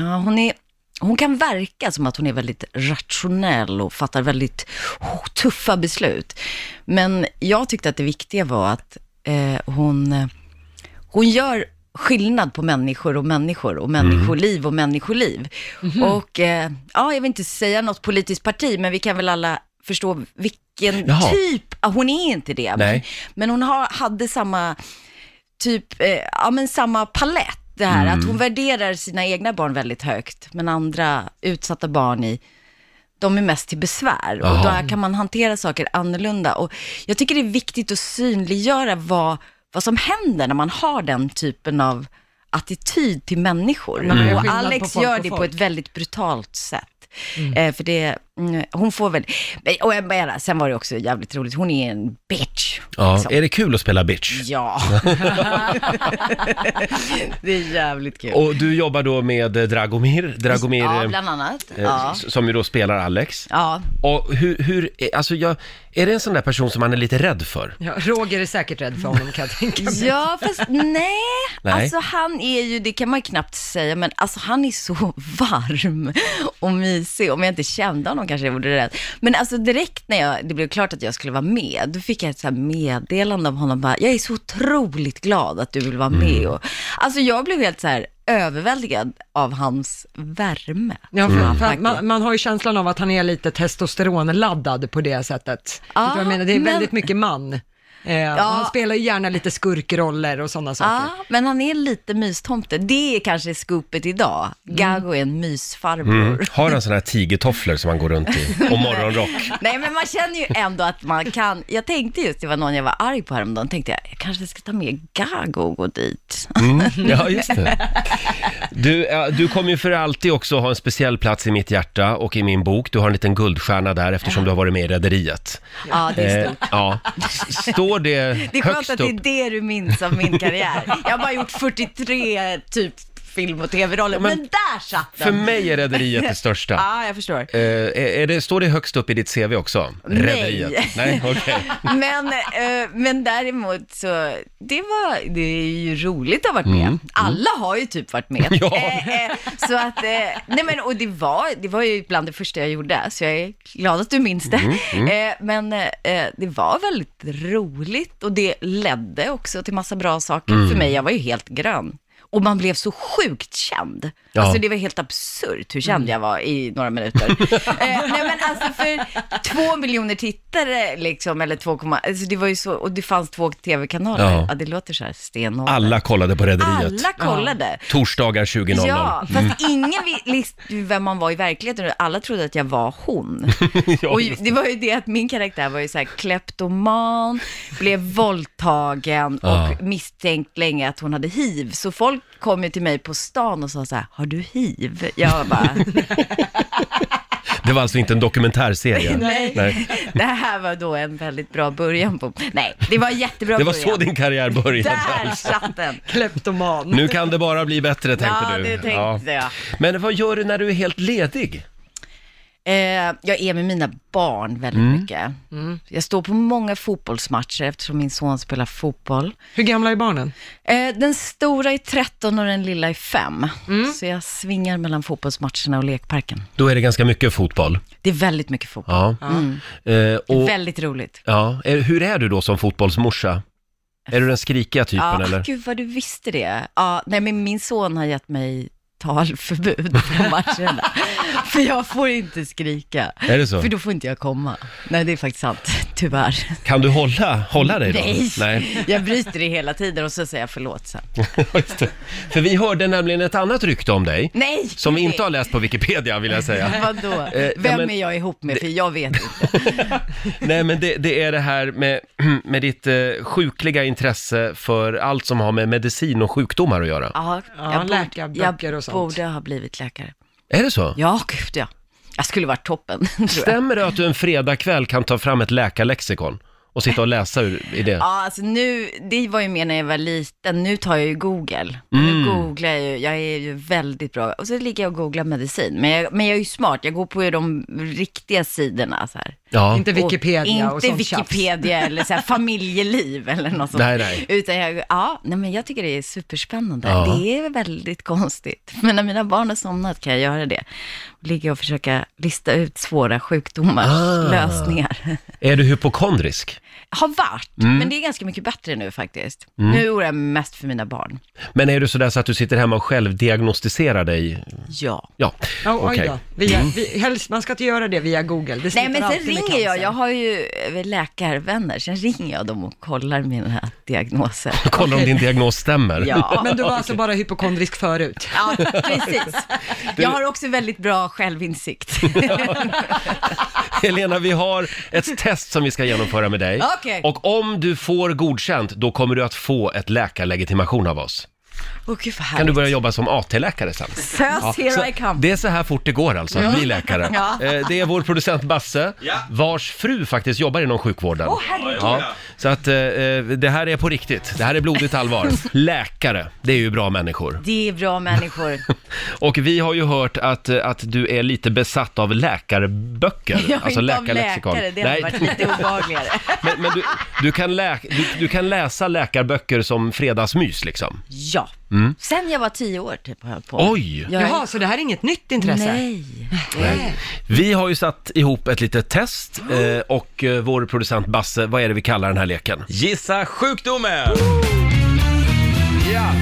G: ja, hon är hon kan verka som att hon är väldigt rationell och fattar väldigt oh, tuffa beslut. Men jag tyckte att det viktiga var att eh, hon eh, hon gör skillnad på människor och människor och människoliv och människoliv. Och eh, ja, jag vill inte säga något politiskt parti, men vi kan väl alla förstå vilken
A: Jaha.
G: typ, ah, hon är inte det, men,
A: Nej.
G: men hon har, hade samma typ, eh, ja men samma palett det här, att hon värderar sina egna barn väldigt högt, men andra utsatta barn i de är mest till besvär och
A: Jaha.
G: då kan man hantera saker annorlunda. Och jag tycker det är viktigt att synliggöra vad, vad som händer när man har den typen av attityd till människor.
A: Mm.
B: gör
G: Och
B: skillnad på
G: Alex
B: folk
G: gör
B: och
G: det på
B: folk.
G: ett väldigt brutalt sätt. Eh, för det, mm, hon får väl, men- och jag menar, sen var det också jävligt roligt, hon är en bitch.
A: Ja,
G: liksom.
A: är det kul att spela bitch?
G: ja. det är jävligt kul.
A: Och du jobbar då med eh, Dragomir, Dragomir
G: ja,
A: eh,
G: bland annat.
A: eh,
G: Ja.
A: s- som ju då spelar Alex.
G: Ja,
A: Och hur, hur eh, alltså jag, är det en sån där person som man är lite rädd för?
B: Ja, Roger är säkert rädd för honom kan jag tänka mig.
G: Ja, fast nej.
A: Nej.
G: Alltså han är ju, det kan man ju knappt säga, men alltså han är så varm och mysig. Om jag inte kände honom kanske jag vore rädd. Men alltså direkt när jag, det blev klart att jag skulle vara med, då fick jag ett så här meddelande av honom bara, jag är så otroligt glad att du vill vara med.
B: Mm.
G: Och, alltså jag blev helt så här överväldigad av hans värme.
B: Ja,
A: Mm.
B: för, för att
G: Faktiskt.
B: man, man har ju känslan av att han är lite testosteronladdad på det sättet.
G: Ja,
B: Vet du vad jag menar? Det är
G: men-
B: väldigt mycket man. Eh, och Han spelar ju gärna lite skurkroller och sådana saker.
G: Ja, men han är lite mystomte. Det är kanske scoopet idag.
B: Mm.
G: Gago är en mysfarbror.
A: Har han såna här tigertofflor som man går runt i? Och morgonrock?
G: Nej men man känner ju ändå att man kan, jag tänkte just, det var någon jag var arg på häromdagen, tänkte jag, jag kanske ska ta med Gago och gå dit.
A: Mm. Ja, just det. Du, eh, du kommer ju för alltid också ha en speciell plats i mitt hjärta och i min bok. Du har en liten guldstjärna där eftersom du har varit med i Rederiet.
G: Ja, det är
A: Eh,
G: stort.
A: ja. S- Står det,
G: Det är skönt
A: högst
G: att
A: upp?
G: det är det du minns av min karriär. Jag har bara gjort 43 typ film och tv-roller,
A: men
G: men, där satt
A: För
G: den!
A: mig är Rederiet det största.
G: Ja, jag förstår.
A: Eh, är, är det, står det högst upp i ditt CV också?
G: Nej.
A: Rederiet? Nej, okej.
G: Men, eh, men däremot så, det, var, det är ju roligt att ha varit med. Alla har ju typ varit med.
A: Mm, Ja.
G: Eh, eh, så att, eh, nej men och det var, det var ju bland det första jag gjorde, så jag är glad att du minns det.
A: Mm,
G: Eh, men eh, det var väldigt roligt och det ledde också till massa bra saker
A: Mm.
G: för mig. Jag var ju helt grön. Och man blev så sjukt känd.
A: Ja.
G: Alltså det var helt absurt hur
A: Mm.
G: känd jag var i några minuter. eh, nej men alltså för två miljoner tittare liksom, eller 2,1, alltså det var ju så, och det fanns två tv-kanaler.
A: Ja.
G: Ja. det låter så här stenhårt.
A: Alla kollade på Rederiet.
G: Alla kollade.
A: Torsdagar 20.00.
G: Ja, fast
A: Mm.
G: ingen vi- visste ju vem man var i verkligheten. Alla trodde att jag var hon.
A: Ja,
G: och ju- det var ju det att min karaktär var ju så här kleptoman, blev våldtagen och
A: Ja.
G: misstänkt länge att hon hade hiv. Så folk kom ju till mig på stan och sa så här, har du hiv? Jag bara,
A: Det var alltså inte en dokumentärserie?
G: Nej. det här var då en väldigt bra början på... Nej, det var en jättebra
A: Det var
G: början.
A: så din karriär började.
G: Där satt den!
B: Kleptoman.
A: Nu kan det bara bli bättre, tänkte
G: Ja,
A: du.
G: det tänkte jag.
A: Men vad gör du när du är helt ledig?
G: Eh, jag är med mina barn väldigt
A: Mm.
G: mycket. Jag står på många fotbollsmatcher eftersom min son spelar fotboll.
B: Hur gamla är barnen?
G: Eh, den stora är 13 och den lilla är 5. Så jag svingar mellan fotbollsmatcherna och lekparken.
A: Då är det ganska mycket fotboll.
G: Det är väldigt mycket fotboll.
A: Ja.
G: Mm.
A: Eh, och,
G: Väldigt roligt.
A: ja. Eh, Hur är du då som fotbollsmorsa? Är du den skrikiga typen
G: Ja,
A: eller?
G: Gud vad du visste det. Ja, nej, men min son har gett mig talförbud på matcherna. för jag får inte skrika.
A: Är det så?
G: För då får inte jag komma. Nej, det är faktiskt sant. Tyvärr.
A: Kan du hålla, hålla dig då?
G: Nej.
A: Nej.
G: Jag bryter det hela tiden och så säger jag förlåt sen.
A: Just det. För vi hörde nämligen ett annat rykte om dig.
G: Nej!
A: Som vi inte har läst på Wikipedia vill jag säga.
G: Vadå?
A: ja,
G: Vem
A: men-
G: är jag ihop med? För jag vet inte.
A: Nej men det, det är det här med, med ditt eh, sjukliga intresse för allt som har med medicin och sjukdomar att göra.
G: Ja,
B: Ja, läkarböcker
G: jag
B: och sånt.
G: borde ha blivit läkare.
A: Är det så?
G: Ja, gud ja. Jag skulle varit toppen, tror jag.
A: Stämmer det att du en fredagkväll kan ta fram ett läkarlexikon och sitta och läsa ur i det?
G: Ja, alltså nu, det var ju mer när jag var liten. Nu tar jag ju Google.
A: Mm.
G: Nu googlar jag ju. Jag är ju väldigt bra. Och så ligger jag och googlar medicin. Men jag, men jag är ju smart. Jag går på ju de riktiga sidorna så här.
A: Ja.
B: Inte Wikipedia och,
G: Inte
B: sånt tjafs.
G: Wikipedia eller så här familjeliv eller något sånt.
A: Nej, nej.
G: Utan jag, ja, nej men jag tycker det är superspännande.
A: Ja.
G: Det är väldigt konstigt. Men när mina barn har somnat kan jag göra det. Ligga och försöka lista ut svåra sjukdomars
A: Ah.
G: lösningar.
A: Är du hypokondrisk?
G: Har varit,
B: Mm.
G: men det är ganska mycket bättre nu faktiskt. Nu oroar jag mig mest för mina barn.
A: Men är du sådär så att du sitter hemma och själv diagnostiserar dig?
G: Ja.
A: Ja,
B: Ja, oj
A: okej. Mm.
B: då. Via, vi, helst, man ska inte göra det via Google. Det
G: Nej
B: slutar
G: men sen
B: alltid med
G: ringer jag,
B: cancer.
G: jag har ju eh, läkarvänner, sen ringer jag dem och kollar mina diagnoser.
A: Kolla om
B: Okej.
A: din diagnos stämmer.
G: Ja.
B: Men du var alltså bara hypokondrisk förut?
G: Ja, precis. Jag har också väldigt bra självinsikt.
A: Helena, vi har ett test som vi ska genomföra med dig.
G: Okej.
A: Och om du får godkänt, då kommer du att få ett läkarlegitimation av oss.
G: Åh gud vad
A: Kan du
G: härligt.
A: börja jobba som AT-läkare sen?
G: Fös,
A: Så
G: here I come.
A: det är så här fort det går alltså, att bli läkare.
G: Ja.
A: Eh, Det är vår producent Basse, vars fru faktiskt jobbar inom sjukvården. ja. Så att eh, eh, det här är på riktigt, det här är blodigt allvar. Läkare, det är ju bra människor.
G: Det är bra människor.
A: Och vi har ju hört att, eh, att du är lite besatt av läkarböcker.
G: Jag är inte av
A: Alltså, läkarlexikon.
G: läkare, det hade
A: Nej.
G: varit lite obehagligare.
A: Men, men du, du, kan lä, du, du kan läsa läkarböcker som fredagsmys liksom?
G: Ja. Sen jag var tio år typ har jag på.
A: Oj!
G: Jag är-
B: Jaha, så det här är inget nytt intresse?
G: Nej.
A: Vi har ju satt ihop ett litet test eh, och eh, vår producent Basse, vad är det vi kallar den här leken?
E: Gissa sjukdomen!
A: Ja!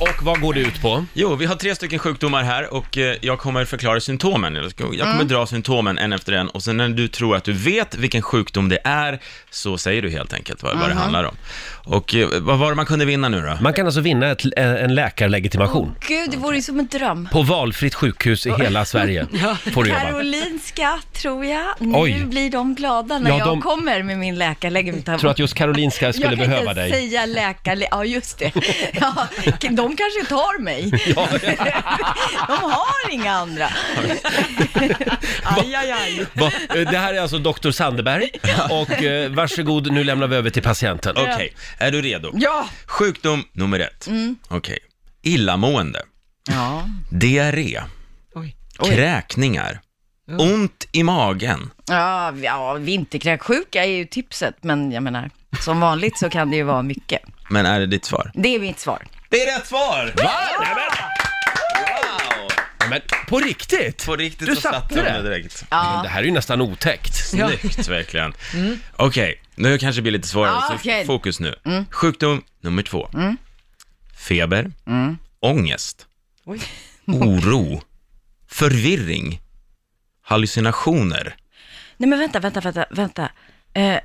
A: Och vad går det ut på?
E: Jo, vi har tre stycken sjukdomar här och eh, jag kommer förklara symptomen. Jag ska- jag kommer dra symptomen en efter en och sen när du tror att du vet vilken sjukdom det är så säger du helt enkelt vad, vad det handlar om. Och eh, vad var det man kunde vinna nu då?
A: Man kan alltså vinna ett, en läkarlegitimation
G: Gud, det vore ju som en dröm.
A: på valfritt sjukhus i hela Sverige. Får du jobba.
G: Karolinska, tror jag. Nu
A: Oj.
G: blir de glada när
A: Ja,
G: jag
A: de-
G: kommer med min läkarlegitimation.
A: Jag tror att just Karolinska skulle
G: jag kan
A: behöva
G: inte
A: dig.
G: säga läkare... Ja, just det. Ja, de kanske tar mig. De har inga andra.
B: Aj, aj, aj.
A: Va? Eh, Det här är alltså Dr. Sandeberg och eh, varsågod, nu lämnar vi över till patienten.
E: Okej, är du redo?
G: Ja.
E: Sjukdom nummer ett. Okej. Illamående,
G: Ja.
E: diarré,
B: Oj.
E: kräkningar, ont i magen.
G: Ja, ja, vinterkräksjuka är ju tipset, men jag menar, som vanligt så kan det ju vara mycket.
E: Men är det ditt svar?
G: Det är mitt svar.
E: Det är rätt svar!
A: Va? Nämen! Men på riktigt?
E: På riktigt
A: du
E: så satte
A: satte
E: de
A: det.
E: det direkt.
A: Men det här är ju nästan otäckt.
E: Snyggt, verkligen. Okej, nu kanske det blir lite svårare,
G: Mm. Ja,
E: så
G: okej. Mm.
E: fokus nu. Sjukdom nummer två. Feber,
G: Mm.
E: ångest,
B: Oj.
E: oro, förvirring, hallucinationer.
G: Nej men vänta, vänta, vänta, vänta. Eh,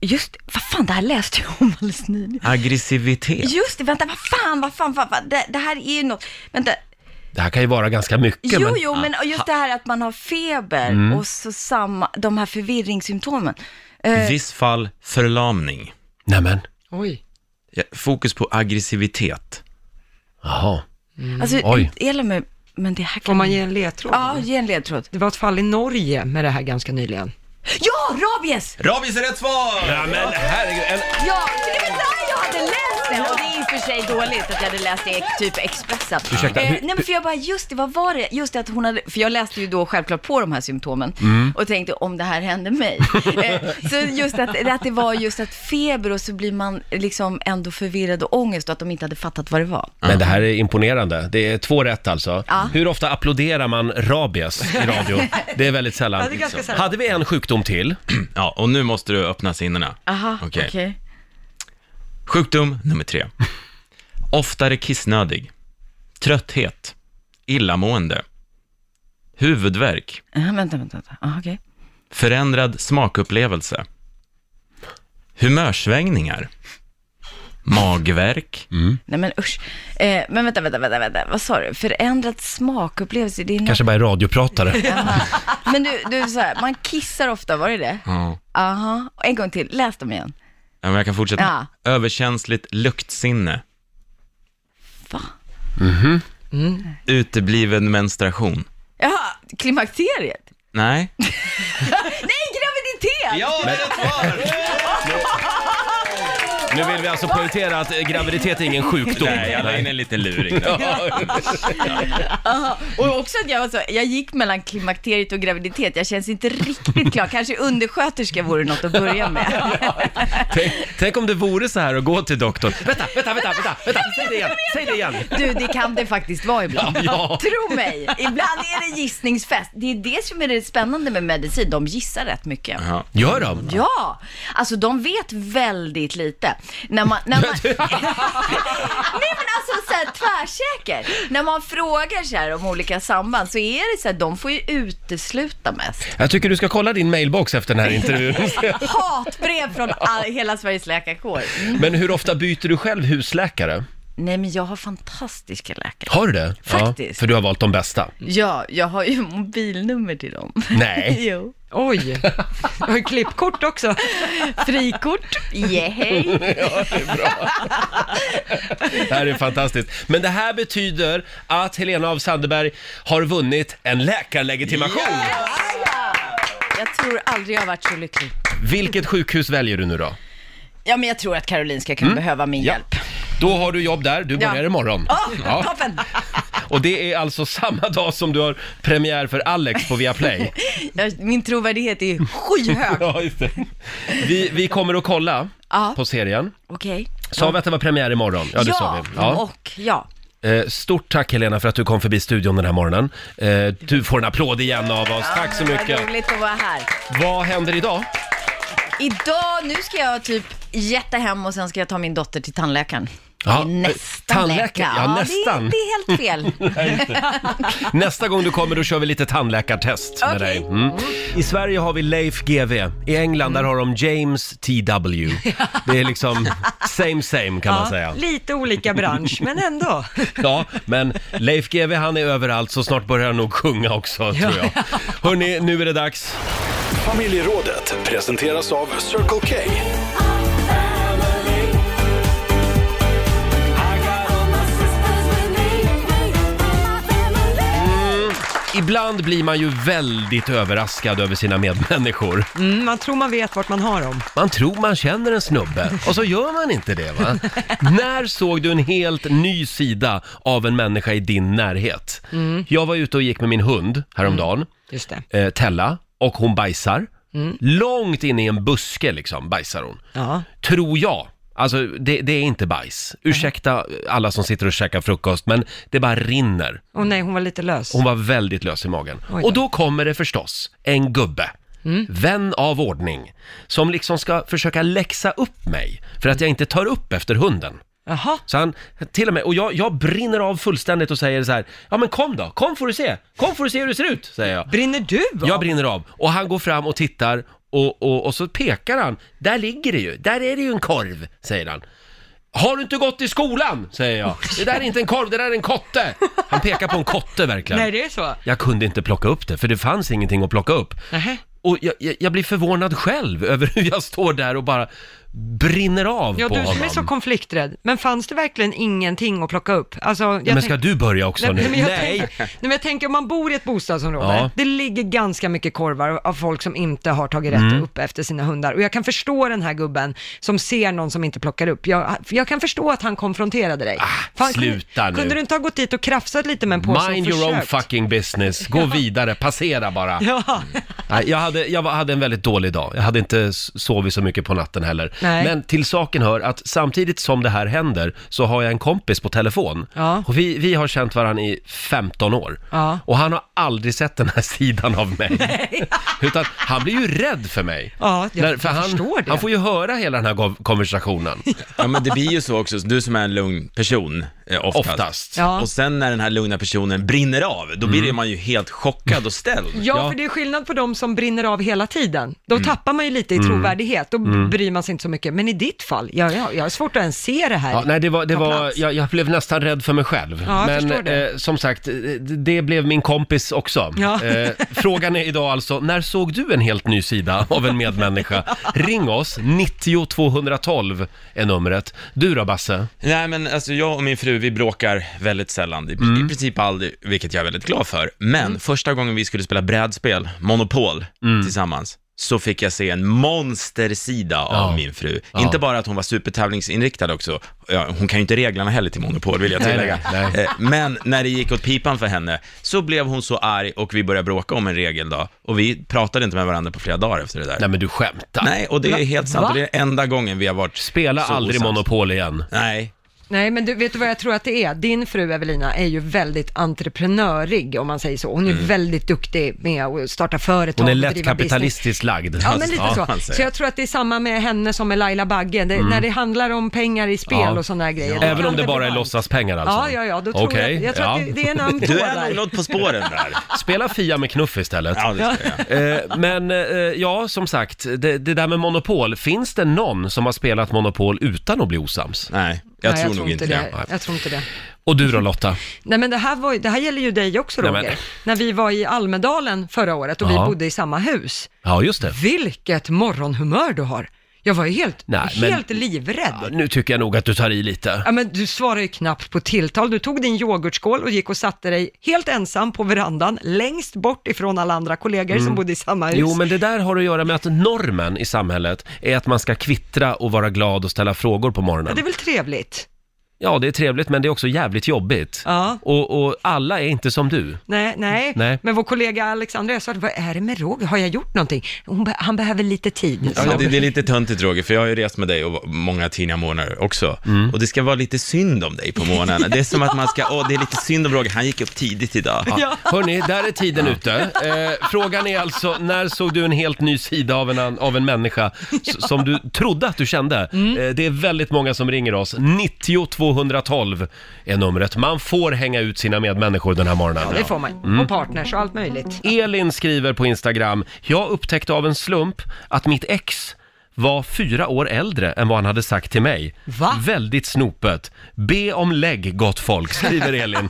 G: just vad fan, det här läste jag om alldeles nyligen.
E: Aggressivitet.
G: Just det, vänta, vad fan, vad fan, vad fan, det, det här är ju något, vänta.
A: Det här kan Ah, ju vara ganska mycket,
G: Jo,
A: men
G: jo, men just det här att man har feber
A: Mm.
G: och så samma, de här förvirringssymptomen. Eh,
E: Viss fall förlamning.
A: nämen,
B: Oj.
E: Ja, Fokus på aggressivitet.
A: jaha.
G: alltså,
A: Mm. Oj.
G: Ela, men, men det här
B: Får
G: kan...
B: man ge en ledtråd?
G: Ja, ge en ledtråd.
B: Det var ett fall i Norge med det här ganska nyligen.
G: Ja, rabies!
E: Rabies är rätt svar!
A: Ja, men herregud, en,
G: Ja, för det var där jag hade läst det. Och det är i och för sig dåligt att jag hade läst det i typ Expressen.
A: Ursäkta,
G: Eh,
A: hur-
G: nej men för jag bara, just det, vad var det? Just det att hon hade, för jag läste ju då självklart på de här symptomen
A: Mm.
G: och tänkte om det här hände mig. eh, så just att, att det var just att feber och så blir man liksom ändå förvirrad och ångest och att de inte hade fattat vad det var.
A: Men det här är imponerande. Det är två rätt alltså.
G: Ja.
A: Hur ofta applåderar man rabies i radio? Det är väldigt sällan.
B: Ja, det är ganska sällan.
A: Hade vi en sjukdom till?
E: Ja, och nu måste du öppna sinnena.
G: Aha,
E: Okej.
G: okej.
E: Sjukdom nummer tre. Oftare kissnödig. Trötthet. Illamående. Huvudvärk.
G: Ja, vänta, vänta, vänta. Ah, okej.
E: Förändrad smakupplevelse. Humörsvängningar. Magvärk.
G: Nej men usch. Eh, men vänta, vänta, vänta, vänta, vad sa du? Förändrad smakupplevelse, det är något...
A: Kanske bara är radiopratare.
G: Men du, du så här, man kissar ofta, var det det?
E: Ja.
G: Aha, Och en gång till, läs dem igen.
E: Ja, men jag kan fortsätta.
G: Ja.
E: Överkänsligt luktsinne.
G: Va?
E: Utebliven menstruation.
G: Jaha, klimakteriet?
E: Nej,
G: Nej, graviditet! svar!
E: Ja, det är rätt svar!
A: Nu vill vi alltså poängtera att eh, graviditet är ingen sjukdom.
E: Nej, jag la in en liten luring där.
G: Aha. Och också att jag var så, jag gick mellan klimakteriet och graviditet, jag känns inte riktigt klar. Kanske undersköterska vore något att börja med.
A: Tänk, tänk om det vore så här att gå till doktorn. Vänta, vänta, vänta, vänta, vänta, säg det igen, säg det igen.
G: Du, det kan det faktiskt vara ibland.
A: Ja.
G: Tro mig, ibland är det gissningsfest. Det är det som är det spännande med medicin, de gissar rätt mycket.
E: Ja.
A: Gör de?
G: Ja, alltså de vet väldigt lite. När man, när man... Nej men alltså så här, tvärsäker. När man frågar så här om olika samband så är det så här, de får ju utesluta mest.
A: Jag tycker du ska kolla din mailbox efter den här intervjun.
G: Hatbrev från all, hela Sveriges läkarkår. Mm.
A: Men hur ofta byter du själv husläkare?
G: Nej men jag har fantastiska läkare.
A: Har du det?
G: Faktiskt.
A: för du har valt de bästa.
G: Ja, jag har ju mobilnummer till dem.
A: Nej.
G: jo.
B: Oj, jag har ju klippkort också.
G: Frikort. Yeah.
A: Det här är fantastiskt. Men det här betyder att Helena av Sandeberg har vunnit en läkarlegitimation.
G: Jag tror aldrig jag har varit så lycklig.
A: Vilket sjukhus väljer du nu då?
G: Ja men jag tror att Karolinska
A: Mm.
G: kan behöva min hjälp.
A: Då har du jobb där, du
G: Ja.
A: börjar imorgon.
G: Åh,
A: Ja.
G: Ah, toppen!
A: Och det är alltså samma dag som du har premiär för Alex på Viaplay.
G: Jag- Min trovärdighet är skyhög.
A: Ja, just det. Vi, vi kommer att kolla
G: Ja.
A: på serien.
G: Okej.
A: Sa vi att det var premiär imorgon? Ja, det sa vi. Ja.
G: och ja.
A: Eh, Stort tack Helena för att du kom förbi studion den här morgonen. Eh, Du får en applåd igen av oss. Tack så mycket.
G: Vad roligt att vara här.
A: Vad händer idag?
G: Idag, nu ska jag typ jätta hem och sen ska jag ta min dotter till tandläkaren.
A: Ja,
G: det är nästan
A: tandläkaren.
G: läka.
A: Ja, nästan.
G: Det, det är helt fel.
A: Nästa gång du kommer då kör vi lite tandläkartest med
G: Okej.
A: dig. Mm. I Sverige har vi Leif GV. I England
G: Mm.
A: där har de James TW. Det är liksom same same kan man säga.
B: lite olika bransch, men ändå.
A: Ja, men Leif GW han är överallt så snart börjar han nog sjunga också tror jag. Hörni, nu är det dags.
H: Familjerådet presenteras av Circle K.
A: Ibland blir man ju väldigt överraskad över sina medmänniskor.
B: Mm, man tror man vet vart man har dem.
A: Man tror man känner en snubbe och så gör man inte det va? När såg du en helt ny sida av en människa i din närhet? Jag var ute och gick med min hund häromdagen,
B: Just det.
A: eh, Tella, och hon bajsar. Långt inne i en buske liksom bajsar hon.
B: Ja.
A: Tror jag. Alltså det, det är inte bajs. Ursäkta alla som sitter och käkar frukost, men det bara rinner.
B: Och nej, hon var lite lös.
A: Hon var väldigt lös i magen.
B: Oj då. Mm.
A: Och då kommer det förstås en gubbe, vän av ordning, som liksom ska försöka läxa upp mig för att jag inte tar upp efter hunden.
B: Jaha.
A: Så han, till och med, och jag, jag brinner av fullständigt och säger så här, ja men kom då, kom får du se, kom får du se hur det ser ut, säger jag.
B: Brinner du av?
A: Jag brinner av. Och han går fram och tittar och, och, och så pekar han, där ligger det ju, där är det ju en korv, säger han. Har du inte gått i skolan? säger jag. Det där är inte en korv, det där är en kotte. Han pekar på en kotte verkligen.
B: Nej, det är så.
A: Jag kunde inte plocka upp det, för det fanns ingenting att plocka upp.
B: Nähä.
A: Och jag, jag, jag blir förvånad själv över hur jag står där och bara brinner av
B: Ja,
A: på
B: du
A: honom.
B: som är så konflikträdd. Men fanns det verkligen ingenting att plocka upp? Alltså, jag
A: Men ska
B: tänk-
A: du börja också
B: Nej,
A: nu?
B: men jag tänker- nej, men jag tänker om man bor i ett bostadsområde,
A: Ja.
B: det ligger ganska mycket korvar av folk som inte har tagit rätt
A: Mm.
B: upp efter sina hundar. Och jag kan förstå den här gubben som ser någon som inte plockar upp. Jag, jag kan förstå att han konfronterade dig.
A: Ah, sluta
B: kunde,
A: nu.
B: Kunde du inte ha gått dit och krafsat lite med en påse
A: Mind
B: och
A: your own
B: försökt?
A: fucking business, gå vidare, passera bara.
B: Ja.
A: Nej, jag, hade, jag var- hade en väldigt dålig dag. Jag hade inte s- sovit så mycket på natten heller.
B: Nej.
A: Men till saken hör att samtidigt som det här händer så har jag en kompis på telefon.
B: Ja.
A: Och vi, vi har känt varandra i 15 år.
B: Ja.
A: Och han har aldrig sett den här sidan av mig. Utan han blir ju rädd för mig.
B: Ja, jag-
A: för
B: jag
A: han,
B: förstår det.
A: han får ju höra hela den här gov- konversationen.
E: Ja, men det blir ju så också, du som är en lugn person, eh, oftast.
A: Oftast.
B: Ja.
E: Och sen när den här lugna personen brinner av, då blir man ju helt chockad och ställd.
B: Ja, för det är skillnad på de som brinner av hela tiden. Då
A: Mm.
B: tappar man ju lite i trovärdighet, då bryr man sig inte så mycket. Men i ditt fall, jag, jag, jag har svårt att ens se det här.
A: Ja, nej, det var, det
B: Ta
A: var,
B: plats.
A: jag, jag blev nästan rädd för mig själv.
B: Ja, jag förstår
A: Men
B: det.
A: eh, som sagt, eh, det- det blev min kompis också.
B: Ja.
A: Eh, frågan är idag alltså, när såg du en helt ny sida av en medmänniska? Ring oss, 90 212 är numret. Du då Basse?
E: Nej, men alltså jag och min fru, vi bråkar väldigt sällan, i,
A: Mm.
E: i princip aldrig,
A: Mm.
E: vilket jag är väldigt glad för. Men första gången vi skulle spela brädspel, Monopol, tillsammans, så fick jag se en monstersida
A: Ja.
E: av min fru.
A: Ja.
E: Inte bara att hon var supertävlingsinriktad också, ja, hon kan ju inte reglerna heller till Monopol vill jag
A: Nej,
E: tillägga.
A: nej, nej.
E: Eh, Men när det gick åt pipan för henne så blev hon så arg och vi började bråka om en regel då. Och vi pratade inte med varandra på flera dagar efter det där.
A: Nej
E: Nej,
A: men du skämtar.
E: och det är helt sant
B: Va?
E: och det är enda gången vi har varit
A: Spela
E: så
A: aldrig
E: osams.
A: Monopol igen.
E: Nej,
B: Nej, men du, vet du vad jag tror att det är? Din fru Evelina är ju väldigt entreprenörig, om man säger så. Hon är väldigt duktig med att starta företag.
A: Mm. Hon är
B: och
A: lätt
B: driva business.
A: kapitalistiskt lagd.
B: Ja, men lite
E: Ja, han
B: så.
E: säger.
B: Så jag tror att det är samma med henne som med Laila Bagge. Det, När det handlar om pengar i spel
A: Mm. Ja.
B: och sådana här grejer. då
A: Även
B: kan
A: om det bara är
B: bli varmt.
A: låtsaspengar alltså?
B: Ja, ja, ja. Då tror
A: Okej,
B: jag, jag tror
A: ja.
B: att det, det är en ambition
E: du är nog
B: där.
E: något på spåren där.
A: Spela Fia med knuff istället.
E: Ja, det ska jag.
A: Eh, men eh, ja, som sagt, det, det där med Monopol. Finns det någon som har spelat Monopol utan att bli osams?
E: Nej, jag
B: Nej,
E: tror nog inte det.
B: Jag tror inte det.
A: Och du då Lotta?
B: Nej men det här, var, ju- det här gäller ju dig också
A: Nej,
B: Roger.
A: men-
B: När vi var i Almedalen förra året och
A: Ja.
B: vi bodde i samma hus.
A: Ja, just det.
B: Vilket morgonhumör du har! Jag var ju helt,
A: Nej, men-
B: helt livrädd.
A: Ja,
B: Ja.
A: nu tycker jag nog att du tar i lite.
B: men du svarade ju knappt på tilltal. Du tog din yoghurtskål och gick och satte dig helt ensam på verandan, längst bort ifrån alla andra kollegor som bodde i samma hus.
A: Mm. Jo, men det där har att göra med att normen i samhället är att man ska kvittra och vara glad och ställa frågor på
B: ja,
A: morgonen.
B: det är väl trevligt?
A: Ja, det är trevligt, men det är också jävligt jobbigt.
B: Ja.
A: Och, och alla är inte som du.
B: Nej, nej.
A: Nej.
B: men vår kollega Alexandra, jag sa, vad är det med Roger? Har jag gjort någonting? Hon be- han behöver lite tid. sa
E: Ja,
B: hon.
E: det, det är lite töntigt Roger, för jag har ju rest med dig och många tidiga månader också. Och det ska vara lite synd om dig på morgnarna. Det är som att man ska, åh det är lite synd om Roger, han gick upp tidigt idag.
A: Hörni, där är tiden ute. Eh, frågan är alltså, när såg du en helt ny sida av en, an- av en människa s- som du trodde att du kände? Eh, det är väldigt många som ringer oss. 90 212 är numret. Man får hänga ut sina medmänniskor den här morgonen.
B: Ja, det får man. Och partners och allt möjligt.
A: Elin skriver på Instagram, jag upptäckte av en slump att mitt ex var fyra år äldre än vad han hade sagt till mig.
B: Va?
A: Väldigt snopet. Be om lägg, gott folk, skriver Elin.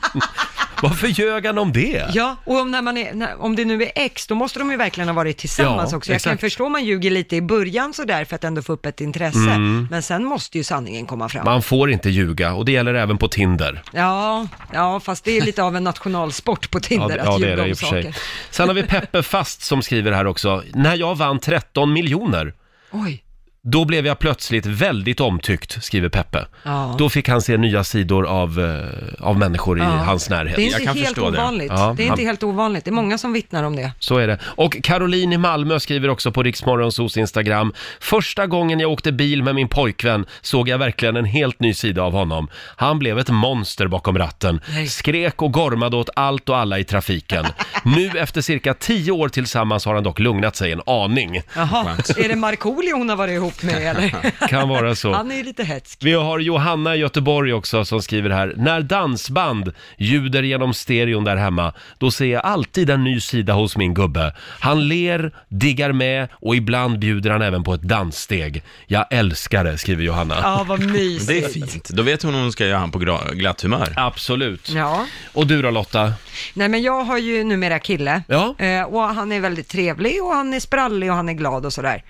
A: Varför ljög han om det?
B: Ja, och om, när man är, när, om det nu är ex, då måste de ju verkligen ha varit tillsammans
A: Ja,
B: också. Jag kan
A: exakt.
B: förstå om man ljuger lite i början sådär för att ändå få upp ett intresse, men sen måste ju sanningen komma fram.
A: Man får inte ljuga och det gäller även på Tinder.
B: Ja, ja, fast det är lite av en nationalsport på Tinder att ljuga om saker.
A: Sen har vi Peppe Fast som skriver här också. När jag vann 13 miljoner,
B: Oj,
A: då blev jag plötsligt väldigt omtyckt, skriver Peppe.
B: Ja.
A: Då fick han se nya sidor av, eh, av människor i
B: Ja.
A: hans
B: det är
A: närhet.
E: Jag
B: inte
E: kan
B: helt
E: förstå det.
B: ovanligt. Det,
A: Ja,
B: är
A: han-
B: inte helt ovanligt. Det är många som vittnar om det.
A: Så är det. Och Caroline i Malmö skriver också på Riksmorgonsos Instagram. Första gången jag åkte bil med min pojkvän såg jag verkligen en helt ny sida av honom. Han blev ett monster bakom ratten.
B: Nej.
A: Skrek och gormade åt allt och alla i trafiken. nu efter cirka tio år tillsammans har han dock lugnat sig en aning.
B: Jaha, är det Markoolio hon har varit ihop med eller?
A: Kan vara så.
B: Han är ju lite hetsk.
A: Vi har Johanna i Göteborg också som skriver här. När dansband ljuder genom stereon där hemma, då ser jag alltid en ny sida hos min gubbe. Han ler, diggar med och ibland bjuder han även på ett danssteg. Jag älskar det, skriver Johanna.
B: Ja, vad mysigt.
E: Det är fint. Då vet hon om hon ska göra han på gra- glatt humör.
A: Absolut.
B: Ja.
A: Och du då Lotta?
B: Nej men jag har ju numera kille
A: Ja.
B: eh, och han är väldigt trevlig och han är sprallig och han är glad och sådär.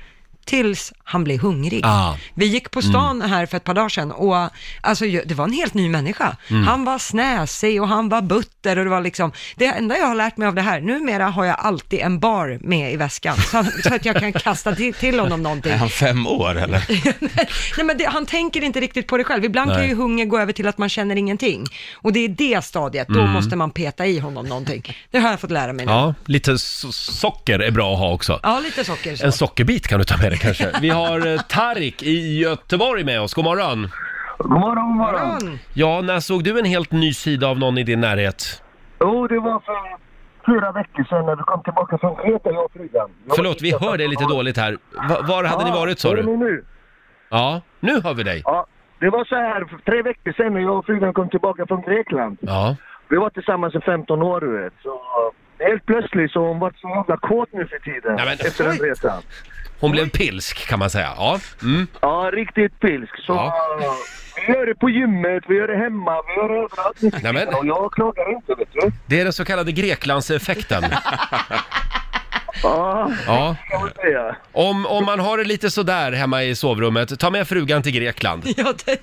B: Tills han blir hungrig.
A: Ah. Mm.
B: Vi gick på stan här för ett par dagar sedan och eh, alltså ju- det var en helt ny människa.
A: Mm.
B: Han var snäsig och han var butter och det var liksom, det enda jag har lärt mig av det här, numera har jag alltid en bar med i väskan så, han, så att jag kan kasta till, till honom någonting.
E: Är han fem år eller?
B: Nej men det, han tänker inte riktigt på det själv. Ibland kan
A: Nej.
B: ju hunger gå över till att man känner ingenting. Och det är det stadiet, då måste man peta i honom någonting. Det har jag fått lära mig nu. Ja,
A: Mm. Ja, lite so- socker är bra att ha också.
B: lite socker så.
A: En sockerbit kan du ta med dig kanske. Vi har eh, Tarik i Göteborg med oss, god morgon.
I: God morgon, god morgon.
B: Morgon.
A: Ja, när såg du en helt ny sida av någon i din närhet?
I: Jo, det var för fyra veckor sedan när du kom tillbaka från Kreta, jag och frugan. Jag
A: Förlåt, vi hör dig lite dåligt här. Va- Var hade ni varit sa
I: Hör ni
A: du?
I: nu?
A: Ja, nu hör vi dig.
I: Ja, det var så här för tre veckor sedan när jag och frugan kom tillbaka från Grekland.
A: Ja,
I: Vi var tillsammans i 15 år, du vet. Så helt plötsligt så har hon varit så jävla kåt nu för tiden.
A: Nej, men-
I: efter den resan.
A: hon blev pilsk kan man säga. Ja, mm.
I: Ja, riktigt pilsk. Så
A: Ja.
I: vi gör det på gymmet, vi gör det hemma, vi gör det överallt. nu för
A: Nej, men-
I: tiden. Och jag klagar inte, vet du.
A: det är den så kallade Greklandseffekten.
I: Ja,
A: Ja.
I: kan man säga.
A: Om, om man har det lite sådär hemma i sovrummet, ta med frugan till Grekland.
B: Ja, det,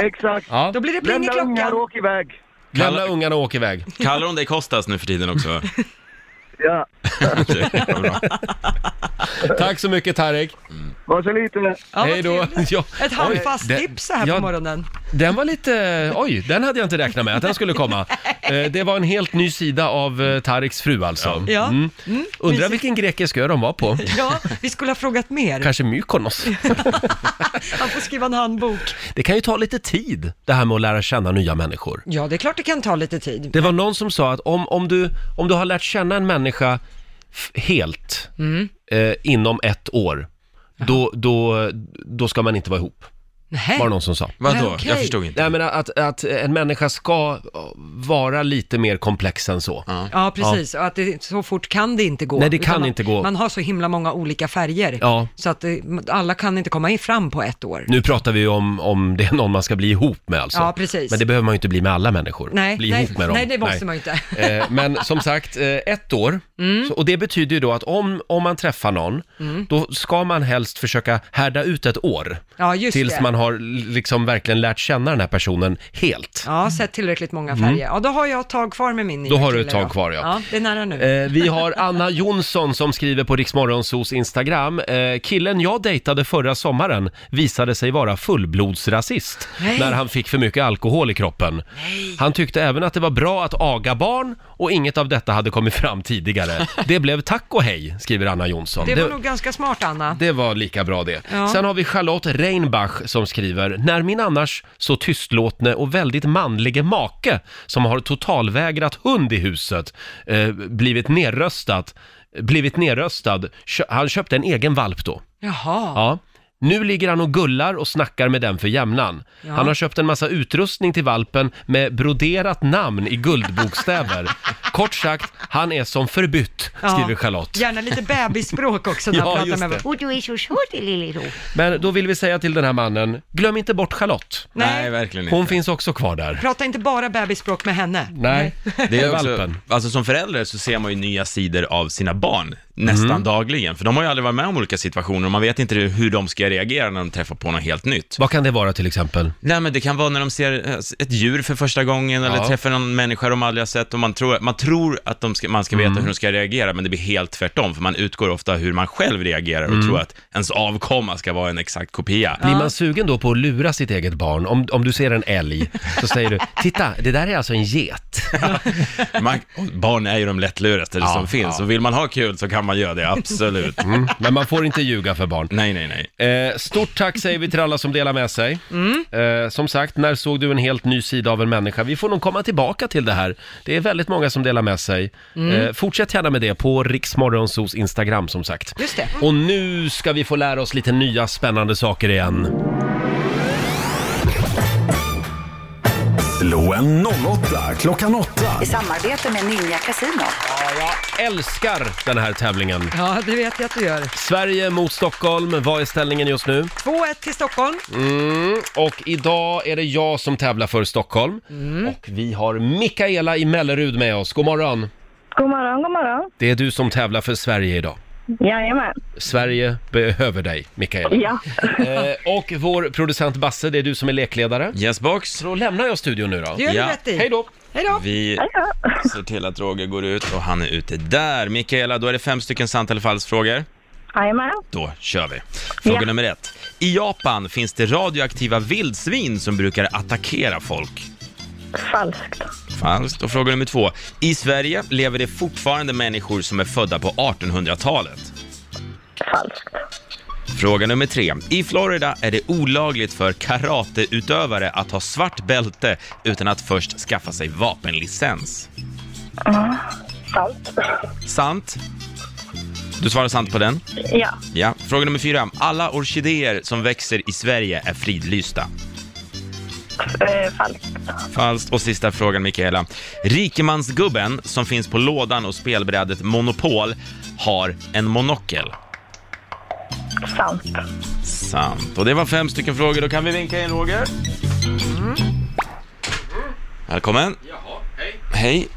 I: Exakt.
A: Ja,
B: då blir det pling i
I: Lämna ungar och
B: klockan.
I: åk iväg.
A: lämna ungarna och åk iväg.
E: Kallar hon dig Kostas nu för tiden också?
I: Ja.
E: Okej, vad bra.
A: Tack så mycket Tarek.
I: Var så lite.
B: Ja, vad
A: Hej då.
B: trevligt.
A: Ja.
B: Ett handfast
A: Oj, det-
B: tips så här
A: ja,
B: på morgonen.
A: Den var lite, oj, den hade jag inte räknat med att den skulle komma. Eh, Det var en helt ny sida av eh, Tariks fru alltså.
B: Ja.
A: Mm.
B: Mm,
A: Undrar
B: mysigt.
A: vilken grekisk ö de var på.
B: Ja, vi skulle ha frågat mer.
A: Kanske Mykonos.
B: Han får skriva en handbok.
A: Det kan ju ta lite tid det här med att lära känna nya människor.
B: Ja, det är klart det kan ta lite tid.
A: Det var någon som sa att om, om, du, om du har lärt känna en människa f- helt eh, inom ett år, då, då, då ska man inte vara ihop,
B: Nej.
A: var det någon som sa.
E: Vadå?
B: Okej.
E: Jag förstod inte.
A: Nej men att, att en människa ska vara lite mer komplex än så.
B: Ja, precis. Och att det, så fort kan det inte gå.
A: Nej, det kan
B: Utan man,
A: inte gå.
B: Man har så himla många olika färger.
A: Ja.
B: Så att det, alla kan inte komma in fram på ett år.
A: Nu pratar vi ju om, om det är någon man ska bli ihop med alltså.
B: Ja, precis.
A: Men det behöver man ju inte bli med alla människor.
B: Nej,
A: bli
B: nej,
A: ihop med dem.
B: nej, det måste man ju inte. Mm.
A: Eh, Men som sagt, eh, ett år. Så, och det betyder ju då att om, om man träffar någon, då ska man helst försöka härda ut ett år.
B: Ja, just
A: tills
B: det.
A: man har liksom verkligen lärt känna den här personen helt.
B: Ja, sett tillräckligt många färger. Ja, då har jag ett tag kvar med min nya
A: Mm. Då har du
B: kille
A: ett tag
B: då.
A: kvar, ja.
B: Ja, det är nära nu.
A: Eh, vi har Anna Jonsson som skriver på Riksmorgonsos Instagram. Eh, killen jag dejtade förra sommaren visade sig vara fullblodsrasist
B: Nej.
A: när han fick för mycket alkohol i kroppen. Han tyckte även att det var bra att aga barn och inget av detta hade kommit fram tidigare. Det blev tack och hej, skriver Anna Jonsson.
B: det var nog ganska smart, Anna.
A: det var lika bra det.
B: Ja.
A: Sen har vi Charlotte Reinbach som skriver, när min annars så tystlåtne och väldigt manlige make som har totalvägrat hund i huset eh, blivit nerröstat, blivit nerröstad, kö- han köpte en egen valp då.
B: Jaha.
A: Ja. Nu ligger han och gullar och snackar med den för jämnan.
B: Ja.
A: Han har köpt en massa utrustning till valpen med broderat namn i guldbokstäver. Kort sagt, han är som förbytt, skriver Charlotte.
B: Gärna lite bebisspråk också när
A: Ja,
B: man pratar
A: just
B: med Oh,
A: det.
B: varandra.
A: Men då vill vi säga till den här mannen, glöm inte bort Charlotte.
E: Nej,
B: Nej,
E: verkligen inte.
A: Hon finns också kvar där.
B: prata inte bara bebisspråk med henne.
A: Nej,
E: Det är också,
A: valpen.
E: alltså som förälder så ser man ju nya sidor av sina barn nästan
A: Mm.
E: dagligen, för de har ju aldrig varit med om olika situationer och man vet inte hur de ska reagera när de träffar på något helt nytt.
A: Vad kan det vara till exempel?
E: Nej men det kan vara när de ser eh, ett djur för första gången eller
A: Ja.
E: träffar någon människa de aldrig har sett och man tror, man tror att de ska, man ska
A: Mm.
E: veta hur de ska reagera men det blir helt tvärtom för man utgår ofta hur man själv reagerar och
A: Mm.
E: tror att ens avkomma ska vara en exakt kopia.
A: Blir man sugen då på att lura sitt eget barn? Om, om du ser en älg så säger du, titta, det där är alltså en get.
E: Man, och barn är ju de lättluraste
A: Ja,
E: som finns
A: ja.
E: och vill man ha kul så kan man göra det, absolut.
A: Mm. Men man får inte ljuga för barn.
E: Nej, nej, nej.
A: Eh, stort tack säger vi till alla som delar med sig.
B: Mm.
A: Eh, som sagt, när såg du en helt ny sida av en människa? Vi får nog komma tillbaka till det här. Det är väldigt många som delar med sig.
B: Mm.
A: Eh, fortsätt gärna med det på Riksmorgonsos Instagram som sagt.
B: Just det.
A: Och nu ska vi få lära oss lite nya spännande saker igen.
C: Slå en 08 klockan 8.
J: I samarbete med Ninja Casino.
A: Älskar den här tävlingen.
B: Ja, det vet jag att du gör.
A: Sverige mot Stockholm, vad är ställningen just nu?
B: 2-1 till Stockholm.
A: Mm, och idag är det jag som tävlar för Stockholm.
B: Mm.
A: Och vi har Mikaela i Mellerud med oss. God morgon!
K: God morgon, god morgon.
A: Det är du som tävlar för Sverige idag.
K: Jajamän.
A: Sverige behöver dig, Mikaela.
K: Ja.
A: Eh, och vår producent Basse, det är du som är lekledare.
E: Yes box.
A: Då lämnar jag studion nu då.
B: Det gör
E: Ja.
B: du rätt i.
A: Hej då!
B: Hej då.
E: Vi ser till att Roger går ut och han är ute där. Mikaela, då är det fem stycken sant eller falskfrågor.
K: Jajamän.
E: Då kör vi. Fråga
K: Ja.
E: nummer ett. I Japan finns det radioaktiva vildsvin som brukar attackera folk.
K: Falskt.
E: Falskt. Och fråga nummer två. I Sverige lever det fortfarande människor som är födda på 1800-talet.
K: Falskt.
E: Fråga nummer tre. I Florida är det olagligt för karateutövare att ha svart bälte utan att först skaffa sig vapenlicens.
K: Sant.
E: Sant. Du svarar sant på den?
K: Ja.
E: Ja. Fråga nummer fyra. Alla orkidéer som växer i Sverige är fridlysta.
K: Eh, falskt.
E: Falskt. Och sista frågan, Mikaela. Rikemansgubben som finns på lådan och spelbrädet Monopol har en monokel.
K: Sant.
E: Sant. Och det var fem stycken frågor. Då kan vi vinka in Roger. Välkommen. Hej.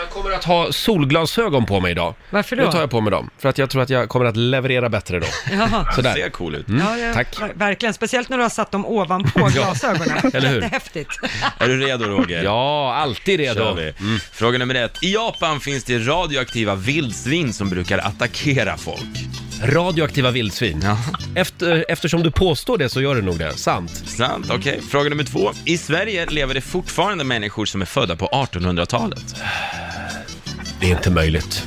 A: Jag kommer att ha solglasögon på mig idag.
B: Varför då?
A: Nu tar jag på mig dem, för att jag tror att jag kommer att leverera bättre då.
B: Jaha.
A: Sådär.
E: Ser cool ut.
B: Ja, ja,
A: Mm, tack.
B: ver- Verkligen, speciellt när du har satt dem ovanpå glasögonen.
A: Eller hur?
B: Jättehäftigt.
E: Är du redo Roger?
A: Ja, alltid
E: Kör
A: redo.
E: vi. Fråga nummer ett. I Japan finns det radioaktiva vildsvin som brukar attackera folk.
A: Radioaktiva vildsvin. Efter, eftersom du påstår det så gör du nog det. Sant.
E: Sant, okej. Fråga nummer två. I Sverige lever det fortfarande människor som är födda på 1800-talet.
A: Det är inte möjligt.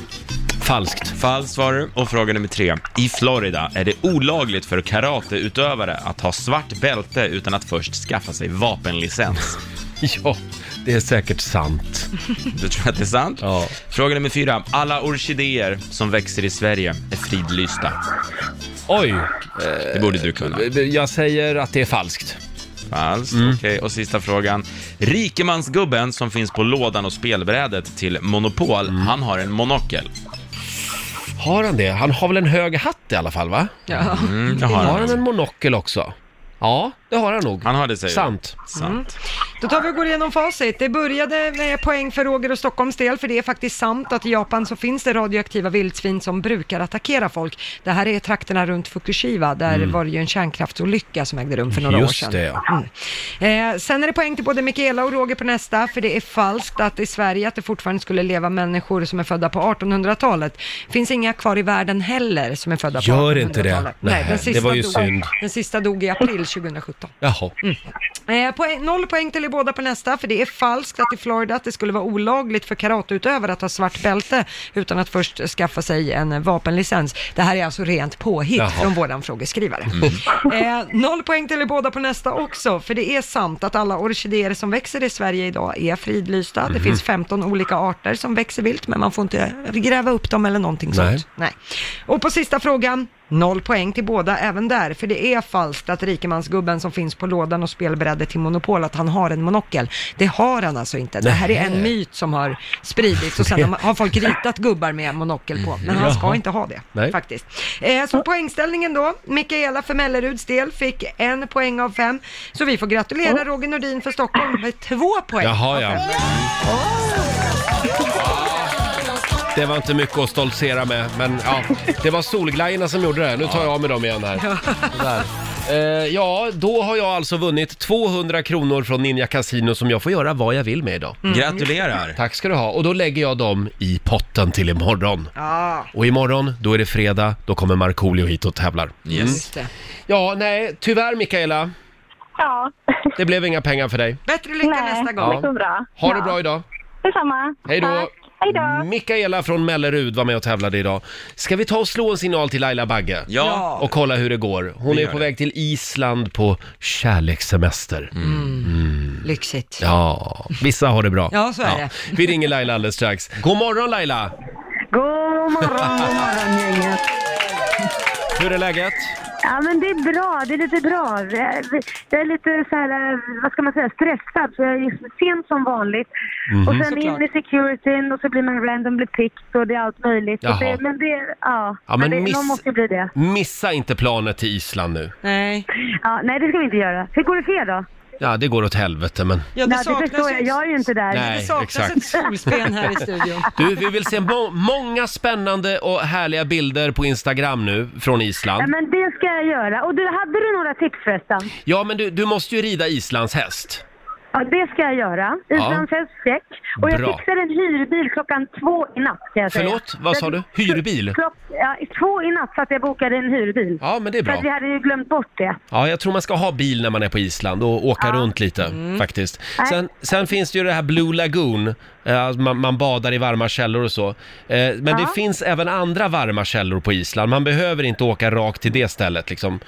A: Falskt.
E: Falskt var det. Och fråga nummer tre. I Florida är det olagligt för karateutövare att ha svart bälte utan att först skaffa sig vapenlicens.
A: ja, det är säkert sant.
E: Du tror att det är sant? Ja. Fråga nummer fyra. Alla orkidéer som växer i Sverige är fridlysta.
A: Oj!
E: Det borde du kunna.
A: Jag säger att det är falskt.
E: Falskt. Okej, och sista frågan. Rikemansgubben som finns på lådan och spelbrädet till Monopol, han har en monokel.
A: Har han det? Han har väl en hög hatt i alla fall, va?
B: Ja.
E: Mm, det
A: har
E: har
A: han
E: han.
A: en monokel också? Ja, det har han nog.
E: Han har det säger du.
A: Sant.
E: Sant.
B: Då tar vi och går igenom facit. Det började med poäng för Roger och Stockholms del, för det är faktiskt sant att i Japan så finns det radioaktiva vildsvin som brukar attackera folk. Det här är trakterna runt Fukushima, där var det ju en kärnkraftsolycka som ägde rum för några år
A: Mm. Just
B: sedan.
A: det, ja.
B: Mm. Eh, sen är det poäng till både Mikaela och Roger på nästa, för det är falskt att i Sverige att det fortfarande skulle leva människor som är födda på 1800-talet. finns inga kvar i världen heller som är födda på
A: Gör
B: 1800-talet.
A: inte det?
B: Nej,
A: Nej,
B: den
A: det
B: sista
A: var ju
B: dog,
A: synd.
B: Den sista dog i april 2017.
A: Jaha.
B: Eh, poäng, noll poäng till er båda på nästa, för det är falskt att i Florida att det skulle vara olagligt för karateutövare att ha svart bälte utan att först skaffa sig en eh, vapenlicens. Det här är alltså rent påhitt
A: Jaha. Mm.
B: från våran frågeskrivare. Eh, noll poäng till er båda på nästa också, för det är sant att alla orkidéer som växer i Sverige idag är fridlysta. Det
A: Mhm.
B: finns 15 olika arter som växer vilt, men man får inte gräva upp dem eller någonting
A: Nej.
B: sånt. Nej. Och på sista frågan, noll poäng till båda även där, för det är falskt att rikemansgubben som finns på lådan och spelbrädet till Monopol, att han har en monokel. Det har han alltså inte. Det här är en
A: Nähä.
B: myt som har spridits och sen har- har folk ritat gubbar med monokel på, men han ska
A: Jaha.
B: inte ha det
A: Nej.
B: faktiskt. Eh, så poängställningen då, Mikaela för Melleruds del fick en poäng av fem, så vi får gratulera Roger Nordin för Stockholm med två poäng.
A: Jaha, ja. Det var inte mycket att stoltsera med, men ja, det var solglajjorna som gjorde det. Nu tar jag av med dem igen här. Där. Eh, ja, då har jag alltså vunnit 200 kronor från Ninja Casino som jag får göra vad jag vill med idag.
E: Gratulerar.
A: Tack ska du ha, och då lägger jag dem i potten till imorgon.
B: Ja,
A: Och imorgon, då är det fredag, då kommer Markoolio hit och tävlar.
E: Yes.
B: just det.
A: Ja, nej, tyvärr Mikaela,
K: Ja,
A: det blev inga pengar för dig.
B: Bättre lycka
K: Nej.
B: nästa gång.
A: Ja.
K: det går Liksom bra.
A: Ha det
K: Ja.
A: bra idag.
K: Detsamma.
A: Hej då.
K: Tack. Hej då.
A: Mikaela från Mellerud var med och tävlade idag. Ska vi ta och slå en signal till Laila Bagge?
E: Ja.
A: Och kolla hur det går. Hon
E: Vi
A: är
E: gör
A: på
E: det.
A: väg till Island på kärlekssemester.
E: Mm.
B: Lyxigt.
A: Ja, vissa har det bra.
B: Ja, så är det.
A: Vi ringer Laila alldeles strax. God morgon Laila!
K: God morgon, god morgon gänget.
A: Hur är läget?
K: Ja, men det är bra. Det är lite bra. Jag- Jag är lite så här, eh, vad ska man säga, stressad. Så jag är sen som vanligt.
A: Mhm.
K: Och sen
B: Såklart.
K: in i securityn och så blir man randomly picked och det är allt möjligt.
A: Jaha.
K: Så Det, men det, ja.
A: Ja, men
K: men det,
A: miss-
K: någon måste ju bli det.
A: Missa inte planet till Island nu.
B: Nej,
K: Ja, nej, det ska vi inte göra. Hur går det för er då?
A: Ja, det går åt helvete men...
B: ja, det
K: Nej, det
B: saknas
K: förstår jag.
B: ju
K: Jag är ju inte där.
A: Nej.
B: Det saknas
A: exakt.
B: ett solsken här i studion.
A: Du, vi vill se må- många spännande och härliga bilder på Instagram nu från
K: Ja,
A: Island.
K: men det ska jag göra. Och du, hade du några tips förresten?
A: Ja, men du, du måste ju rida Islands häst.
K: Ja, det ska jag göra. Islandshäst, check. Och jag
A: Bra.
K: fixar en hyrbil klockan två i natt, kan jag säga.
A: Förlåt, vad sa du? Hyrbil?
K: Klock, ja, två i natt satt jag bokade en hyrbil.
A: Ja, men det är
K: För att vi
A: bra.
K: hade ju glömt bort det.
A: Ja, jag tror man ska ha bil när man är på Island och åka runt lite faktiskt.
K: Mm. Nej.
A: Sen, sen finns det ju det här Blue Lagoon, eh, man, man badar i varma källor och så. Eh, men det finns även andra varma källor på Island, man behöver inte åka rakt till det stället liksom.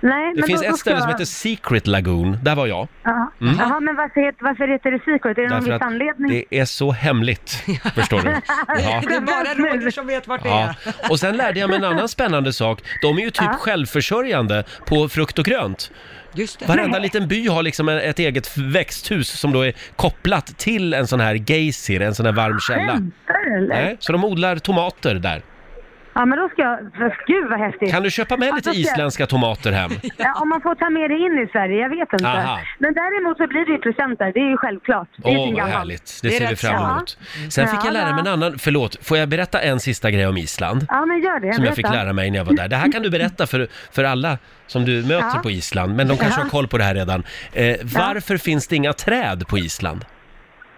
K: Nej,
A: Det
K: men
A: finns
K: då, då
A: ett ställe
K: ska
A: som
K: jag-
A: heter Secret Lagoon, där var jag.
K: Ja. Jaha, men varför heter, varför heter det Secret? Är det någon
A: Därför
K: viss
A: att
K: anledning?
A: det är så hemligt, förstår du. Ja.
B: Det är bara Roger som vet vart det
A: Ja.
B: är.
A: Och sen lärde jag mig en annan spännande sak. De är ju typ självförsörjande på frukt och grönt.
B: Just det.
A: Varenda liten by har liksom en- ett eget växthus som då är kopplat till en sån här geysir, en sån här varm källa.
K: Ah, Skämtar du, eller?
A: Nej, så de odlar tomater där.
K: Ja, men då ska jag... Gud vad häftigt!
A: Kan du köpa med lite
K: Alltså, jag-
A: isländska tomater hem?
K: Ja, om man får ta med det in i Sverige, jag vet inte.
A: Aha.
K: Men däremot så blir det ju presenter, det är ju självklart. Det är ju
A: Åh,
K: sin
A: vad
K: gammal.
A: härligt. Det
B: Det är
A: ser vi
B: rätt
A: fram
K: sant.
A: emot. Sen fick jag lära mig en annan, förlåt, får jag berätta en sista grej om Island?
K: Ja, men gör det.
A: Som jag
K: berätta.
A: fick lära mig när jag var där. Det här kan du berätta för, för alla som du möter
K: Ja.
A: på Island, men de kanske har koll på det här redan. Eh, varför finns det inga träd på Island?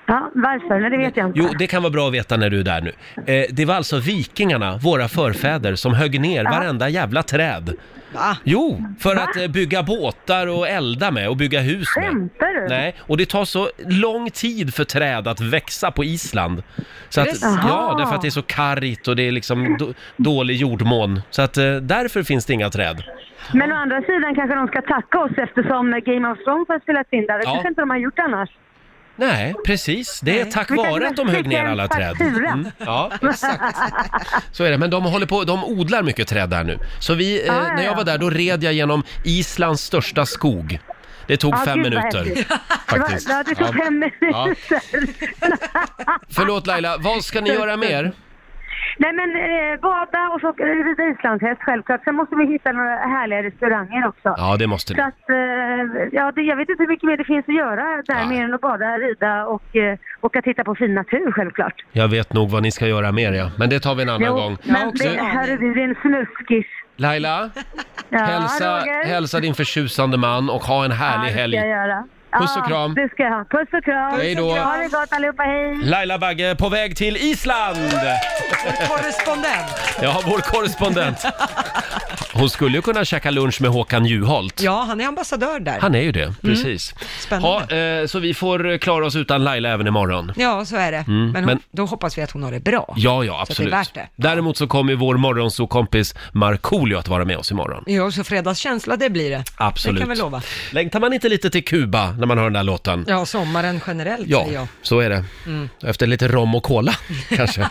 K: Ja, varför? Nej, det vet jag inte.
A: Jo, det kan vara bra att veta när du är där nu. Eh, det var alltså vikingarna, våra förfäder, som högg ner varenda jävla träd.
B: Va?
A: Jo, för att eh, bygga båtar och elda med och bygga hus med.
K: Skämtar du?
A: Nej, och det tar så lång tid för träd att växa på Island. Så
K: Är det
A: att,
K: sant?
A: ja, därför att det är så kargt och det är liksom då, dålig jordmån. Så att eh, därför finns det inga träd.
K: Men å andra sidan kanske de ska tacka oss eftersom Game of Thrones har spelats in där. Det
A: Ja.
K: kanske inte de har gjort annars.
A: Nej, precis. Det är tack
K: Vi kanske
A: vare att de
K: måste
A: högg
K: skicka
A: ner
K: en
A: alla träd. Mm.
K: faktura.
A: Ja, exakt. Så är det, men de håller på, de odlar mycket träd där nu. Så vi, eh,
K: Ja, ja,
A: när jag
K: Ah, ja.
A: var där, då red jag genom Islands största skog. Det tog
K: Ja,
A: fem
K: gud, vad
A: minuter.
K: häftigt. Det var-
A: faktiskt.
K: Ja, det tog
A: Ja.
K: fem
A: Ja.
K: minuter.
A: Förlåt Laila, vad ska ni göra mer?
K: Nej men eh, bada och så eh, rida islandshäst självklart. Sen måste vi hitta några härliga restauranger också.
A: Ja, det måste
K: Så
A: ni.
K: att, eh, ja, det, jag vet inte hur mycket mer det finns att göra där mer än att bada, rida och eh, åka titta på fin natur självklart.
A: Jag vet nog vad ni ska göra mer ja, men det tar vi en annan gång.
K: men
A: Du,
K: det, herregud, det är en snuskis.
A: Laila,
K: Ja,
A: hälsa,
K: Roger.
A: hälsa din förtjusande man och ha en härlig
K: Ja, det ska
A: helg.
K: jag göra.
A: Puss och
K: Ja,
A: kram.
K: Det ska jag ha. Puss och kram.
A: Hej då.
K: Ha det gott allihopa, hej.
A: Laila Bagge på väg till Island!
B: Korrespondent.
A: Ja, vår korrespondent. Hon skulle ju kunna käka lunch med Håkan Juholt.
B: Ja, han är ambassadör där.
A: Han är ju det, precis.
B: Spännande.
A: Ja, eh, så vi får klara oss utan Laila även imorgon.
B: Ja, så är det.
A: Mm,
B: men, hon,
A: men-
B: då hoppas vi att hon har det bra.
A: Ja, ja,
B: Så att det
A: absolut.
B: är värt det.
A: Däremot så kommer ju vår morgonsokompis Markoolio att vara med oss imorgon.
B: Ja, så fredagskänsla det blir det.
A: Absolut.
B: Det kan vi lova.
A: Längtar man inte lite till Kuba när man hör den där låten?
B: Ja, sommaren generellt säger jag.
A: Ja, så är det.
B: Mm.
A: Efter lite rom och cola, kanske.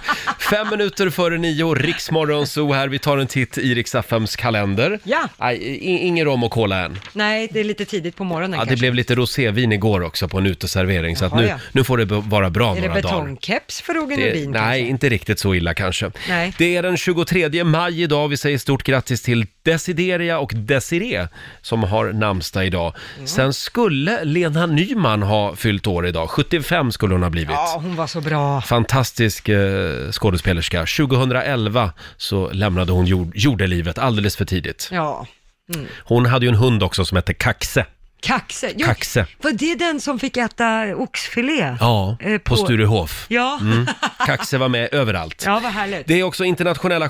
A: Fem minuter före nio, Riksmorgonzoo här. Vi tar en titt i Rix FMs kalender.
B: Ja.
A: Nej, i- ingen rom och cola än.
B: Nej, det är lite tidigt på morgonen
A: Ja,
B: kanske.
A: det blev lite rosévin igår också på en uteservering, så att
B: Jaha,
A: nu,
B: ja.
A: nu får det b- vara bra
B: Är det
A: några dagar.
B: betongkeps för Roger
A: Det-
B: Nordin?
A: nej, inte riktigt så illa kanske.
B: Nej.
A: Det är den 23 maj idag. Vi säger stort grattis till Desideria och Desiree som har namnsdag idag. Sen skulle Lena Nyman ha fyllt år idag. 75 skulle hon ha blivit.
B: Ja, hon var så bra.
A: Fantastisk eh, skådespelerska. 2011 så lämnade hon jord, jordelivet alldeles för tidigt.
B: Ja. Mm.
A: Hon hade ju en hund också som hette Kaxe.
B: Kaxe. Jo,
A: Kaxe.
B: Var det den som fick äta oxfilé?
A: Ja,
B: Eh,
A: på Sturehof.
B: Ja.
A: Mm. Kaxe var med överallt.
B: Ja, vad härligt.
A: Det är också internationella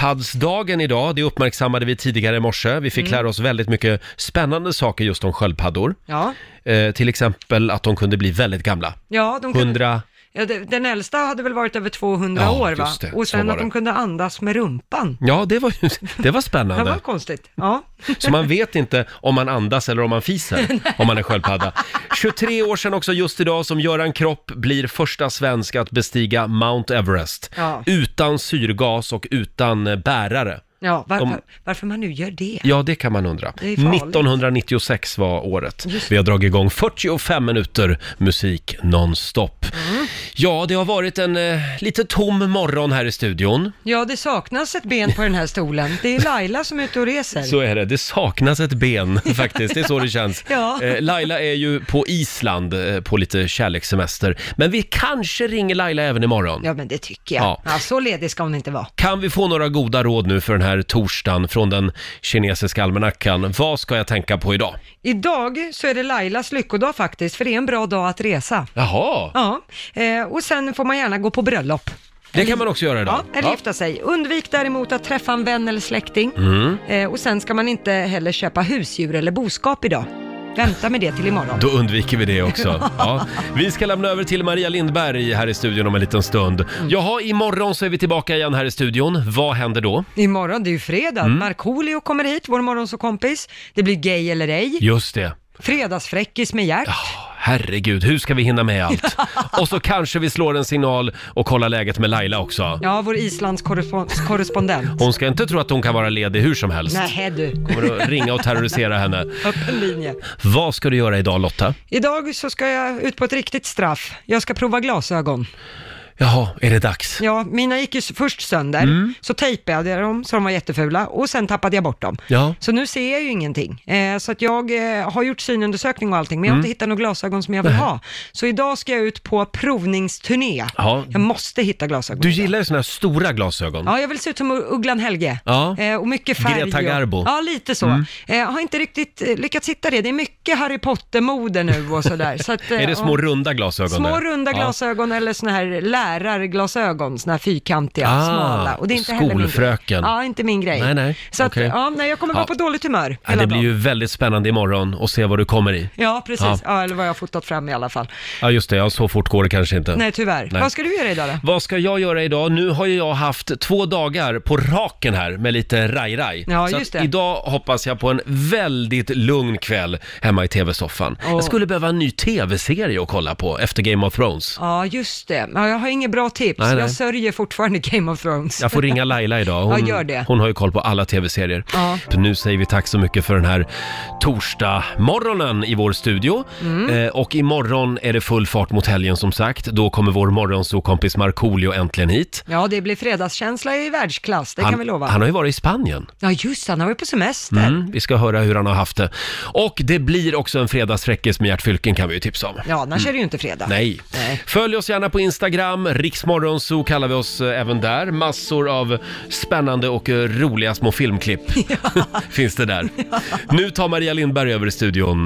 A: sköldpaddsdagen idag. Det uppmärksammade vi tidigare i morse. Vi fick
B: Mm.
A: lära oss väldigt mycket spännande saker just om sköldpaddor.
B: Ja.
A: Eh, till exempel att de kunde bli väldigt gamla.
B: Ja, de kunde...
A: 100...
B: ja, det- den äldsta hade väl varit över 200
A: Ja,
B: år va?
A: just det.
B: Och
A: Så
B: sen
A: var
B: att de
A: det.
B: kunde andas med rumpan.
A: Ja, det var, ju- det var
B: Det
A: spännande.
B: var konstigt. Ja.
A: Så man vet inte om man andas eller om man fiser, om man är sköldpadda. 23 år sedan också just idag som Göran Kropp blir första svensk att bestiga Mount Everest.
B: Ja.
A: Utan syrgas och utan eh, bärare.
B: Ja, varför,
A: De-
B: varför man nu gör det.
A: Ja, det kan man undra.
B: Det är farligt.
A: 1996 var året.
B: Just.
A: Vi har dragit igång 45 minuter musik nonstop.
B: Mm.
A: Ja, det har varit en eh, lite tom morgon här i studion.
B: Ja, det saknas ett ben på den här stolen. Det är Laila som är ute och reser.
A: Så är det. Det saknas ett ben faktiskt. Det är så det känns.
B: Ja.
A: Eh, Laila är ju på Island eh, på lite kärlekssemester. Men vi kanske ringer Laila även imorgon.
B: Ja, men det tycker jag.
A: Ja.
B: Ja. så ledig ska hon inte vara.
A: Kan vi få några goda råd nu för den här torsdagen från den kinesiska almanackan? Vad ska jag tänka på idag?
B: Idag så är det Lailas lyckodag faktiskt, för det är en bra dag att resa.
A: Jaha,
B: Ja, eh, och sen får man gärna gå på bröllop.
A: det kan man också göra idag.
B: Ja, eller gifta sig. Undvik däremot att träffa en vän eller släkting.
A: Mm.
B: Eh, och sen ska man inte heller köpa husdjur eller boskap idag. Vänta med det till imorgon.
A: Då undviker vi det också. Ja. Vi ska lämna över till Maria Lindberg här i studion om en liten stund.
B: Mm.
A: Jaha, imorgon så är vi tillbaka igen här i studion. Vad händer då?
B: Imorgon, det är ju fredag.
A: Mm.
B: Markoolio kommer hit, vår morgonsåkompis. Det blir Gay eller ej.
A: Just det.
B: Fredagsfräckis med Gert.
A: Herregud, hur ska vi hinna med allt? Och så kanske vi slår en signal och kollar läget med Laila också.
B: Ja, vår Islands korrespon- korrespondent.
A: Hon ska inte tro att hon kan vara ledig hur som helst.
B: Nähä du.
A: Kommer att ringa och terrorisera henne.
B: Öppen linje.
A: Vad ska du göra idag Lotta?
B: Idag så ska jag ut på ett riktigt straff. Jag ska prova glasögon.
A: Jaha, är det dags?
B: Ja, mina gick ju s- först sönder,
A: Mm.
B: så tejpade jag dem så de var jättefula och sen tappade jag bort dem.
A: Ja.
B: Så nu ser jag ju ingenting. Eh, så att jag eh, har gjort synundersökning och allting, men jag har
A: Mm.
B: inte hittat några glasögon som jag vill
A: Nej.
B: ha. Så idag ska jag ut på provningsturné.
A: Ja.
B: Jag måste hitta glasögon.
A: Du gillar ju såna här stora glasögon.
B: Ja, jag vill se ut som Ugglan Helge.
A: Ja.
B: Eh, och mycket färg.
A: Greta
B: och-
A: Garbo.
B: Ja, lite så.
A: Mm.
B: Eh, har inte riktigt eh, lyckats hitta det. Det är mycket Harry Potter-mode nu och sådär. Så att, eh,
A: är det små
B: ja.
A: runda glasögon
B: Små
A: där?
B: runda
A: Ja.
B: glasögon eller såna här lärarglasögon, såna här fyrkantiga,
A: Ah,
B: smala. Och det är inte heller min grej.
A: skolfröken.
B: Ja, inte min grej.
A: Nej, nej.
B: Så att,
A: Okej.
B: ja, nej, jag kommer vara
A: Ja.
B: på dåligt humör
A: Ja,
B: hela
A: det blir
B: dagen.
A: ju väldigt spännande imorgon och se vad du kommer i.
B: Ja, precis.
A: Ja.
B: Ja. eller vad jag har fotat fram i alla fall.
A: Ja, just det. Ja, så fort går det kanske inte.
B: Nej, tyvärr.
A: Nej.
B: Vad ska du göra idag då?
A: Vad ska jag göra idag? Nu har ju jag haft två dagar på raken här med lite raj-raj.
B: Ja,
A: så
B: just
A: att
B: det.
A: idag hoppas jag på en väldigt lugn kväll hemma i tv-soffan. Jag skulle behöva en ny tv-serie att kolla på efter Game of Thrones.
B: Ja, just det. Ja, jag har inga bra tips.
A: Nej, nej.
B: Jag sörjer fortfarande Game of Thrones.
A: Jag får ringa Laila idag. Hon,
B: Ja, gör det.
A: hon har ju koll på alla tv-serier.
B: Ja.
A: Nu säger vi tack så mycket för den här torsdag morgonen i vår studio.
L: Mm.
A: Eh, och imorgon är det full fart mot helgen som sagt. Då kommer vår morgonsokompis Markoolio äntligen hit.
B: Ja, det blir fredagskänsla i världsklass, det kan vi lova.
A: han har ju varit i Spanien.
B: Ja, just det, han har varit på semester.
A: Mm, vi ska höra hur han har haft det. Och det blir också en fredagsfräckis med Gert Fylking kan vi ju tipsa om.
B: Ja, annars
A: Mm.
B: är det ju inte fredag.
A: Nej. Följ oss gärna på Instagram, Riksmorgonzoo kallar vi oss eh, även där. Massor av spännande och eh, roliga små filmklipp finns det där. Nu tar Maria Lindberg över i studion.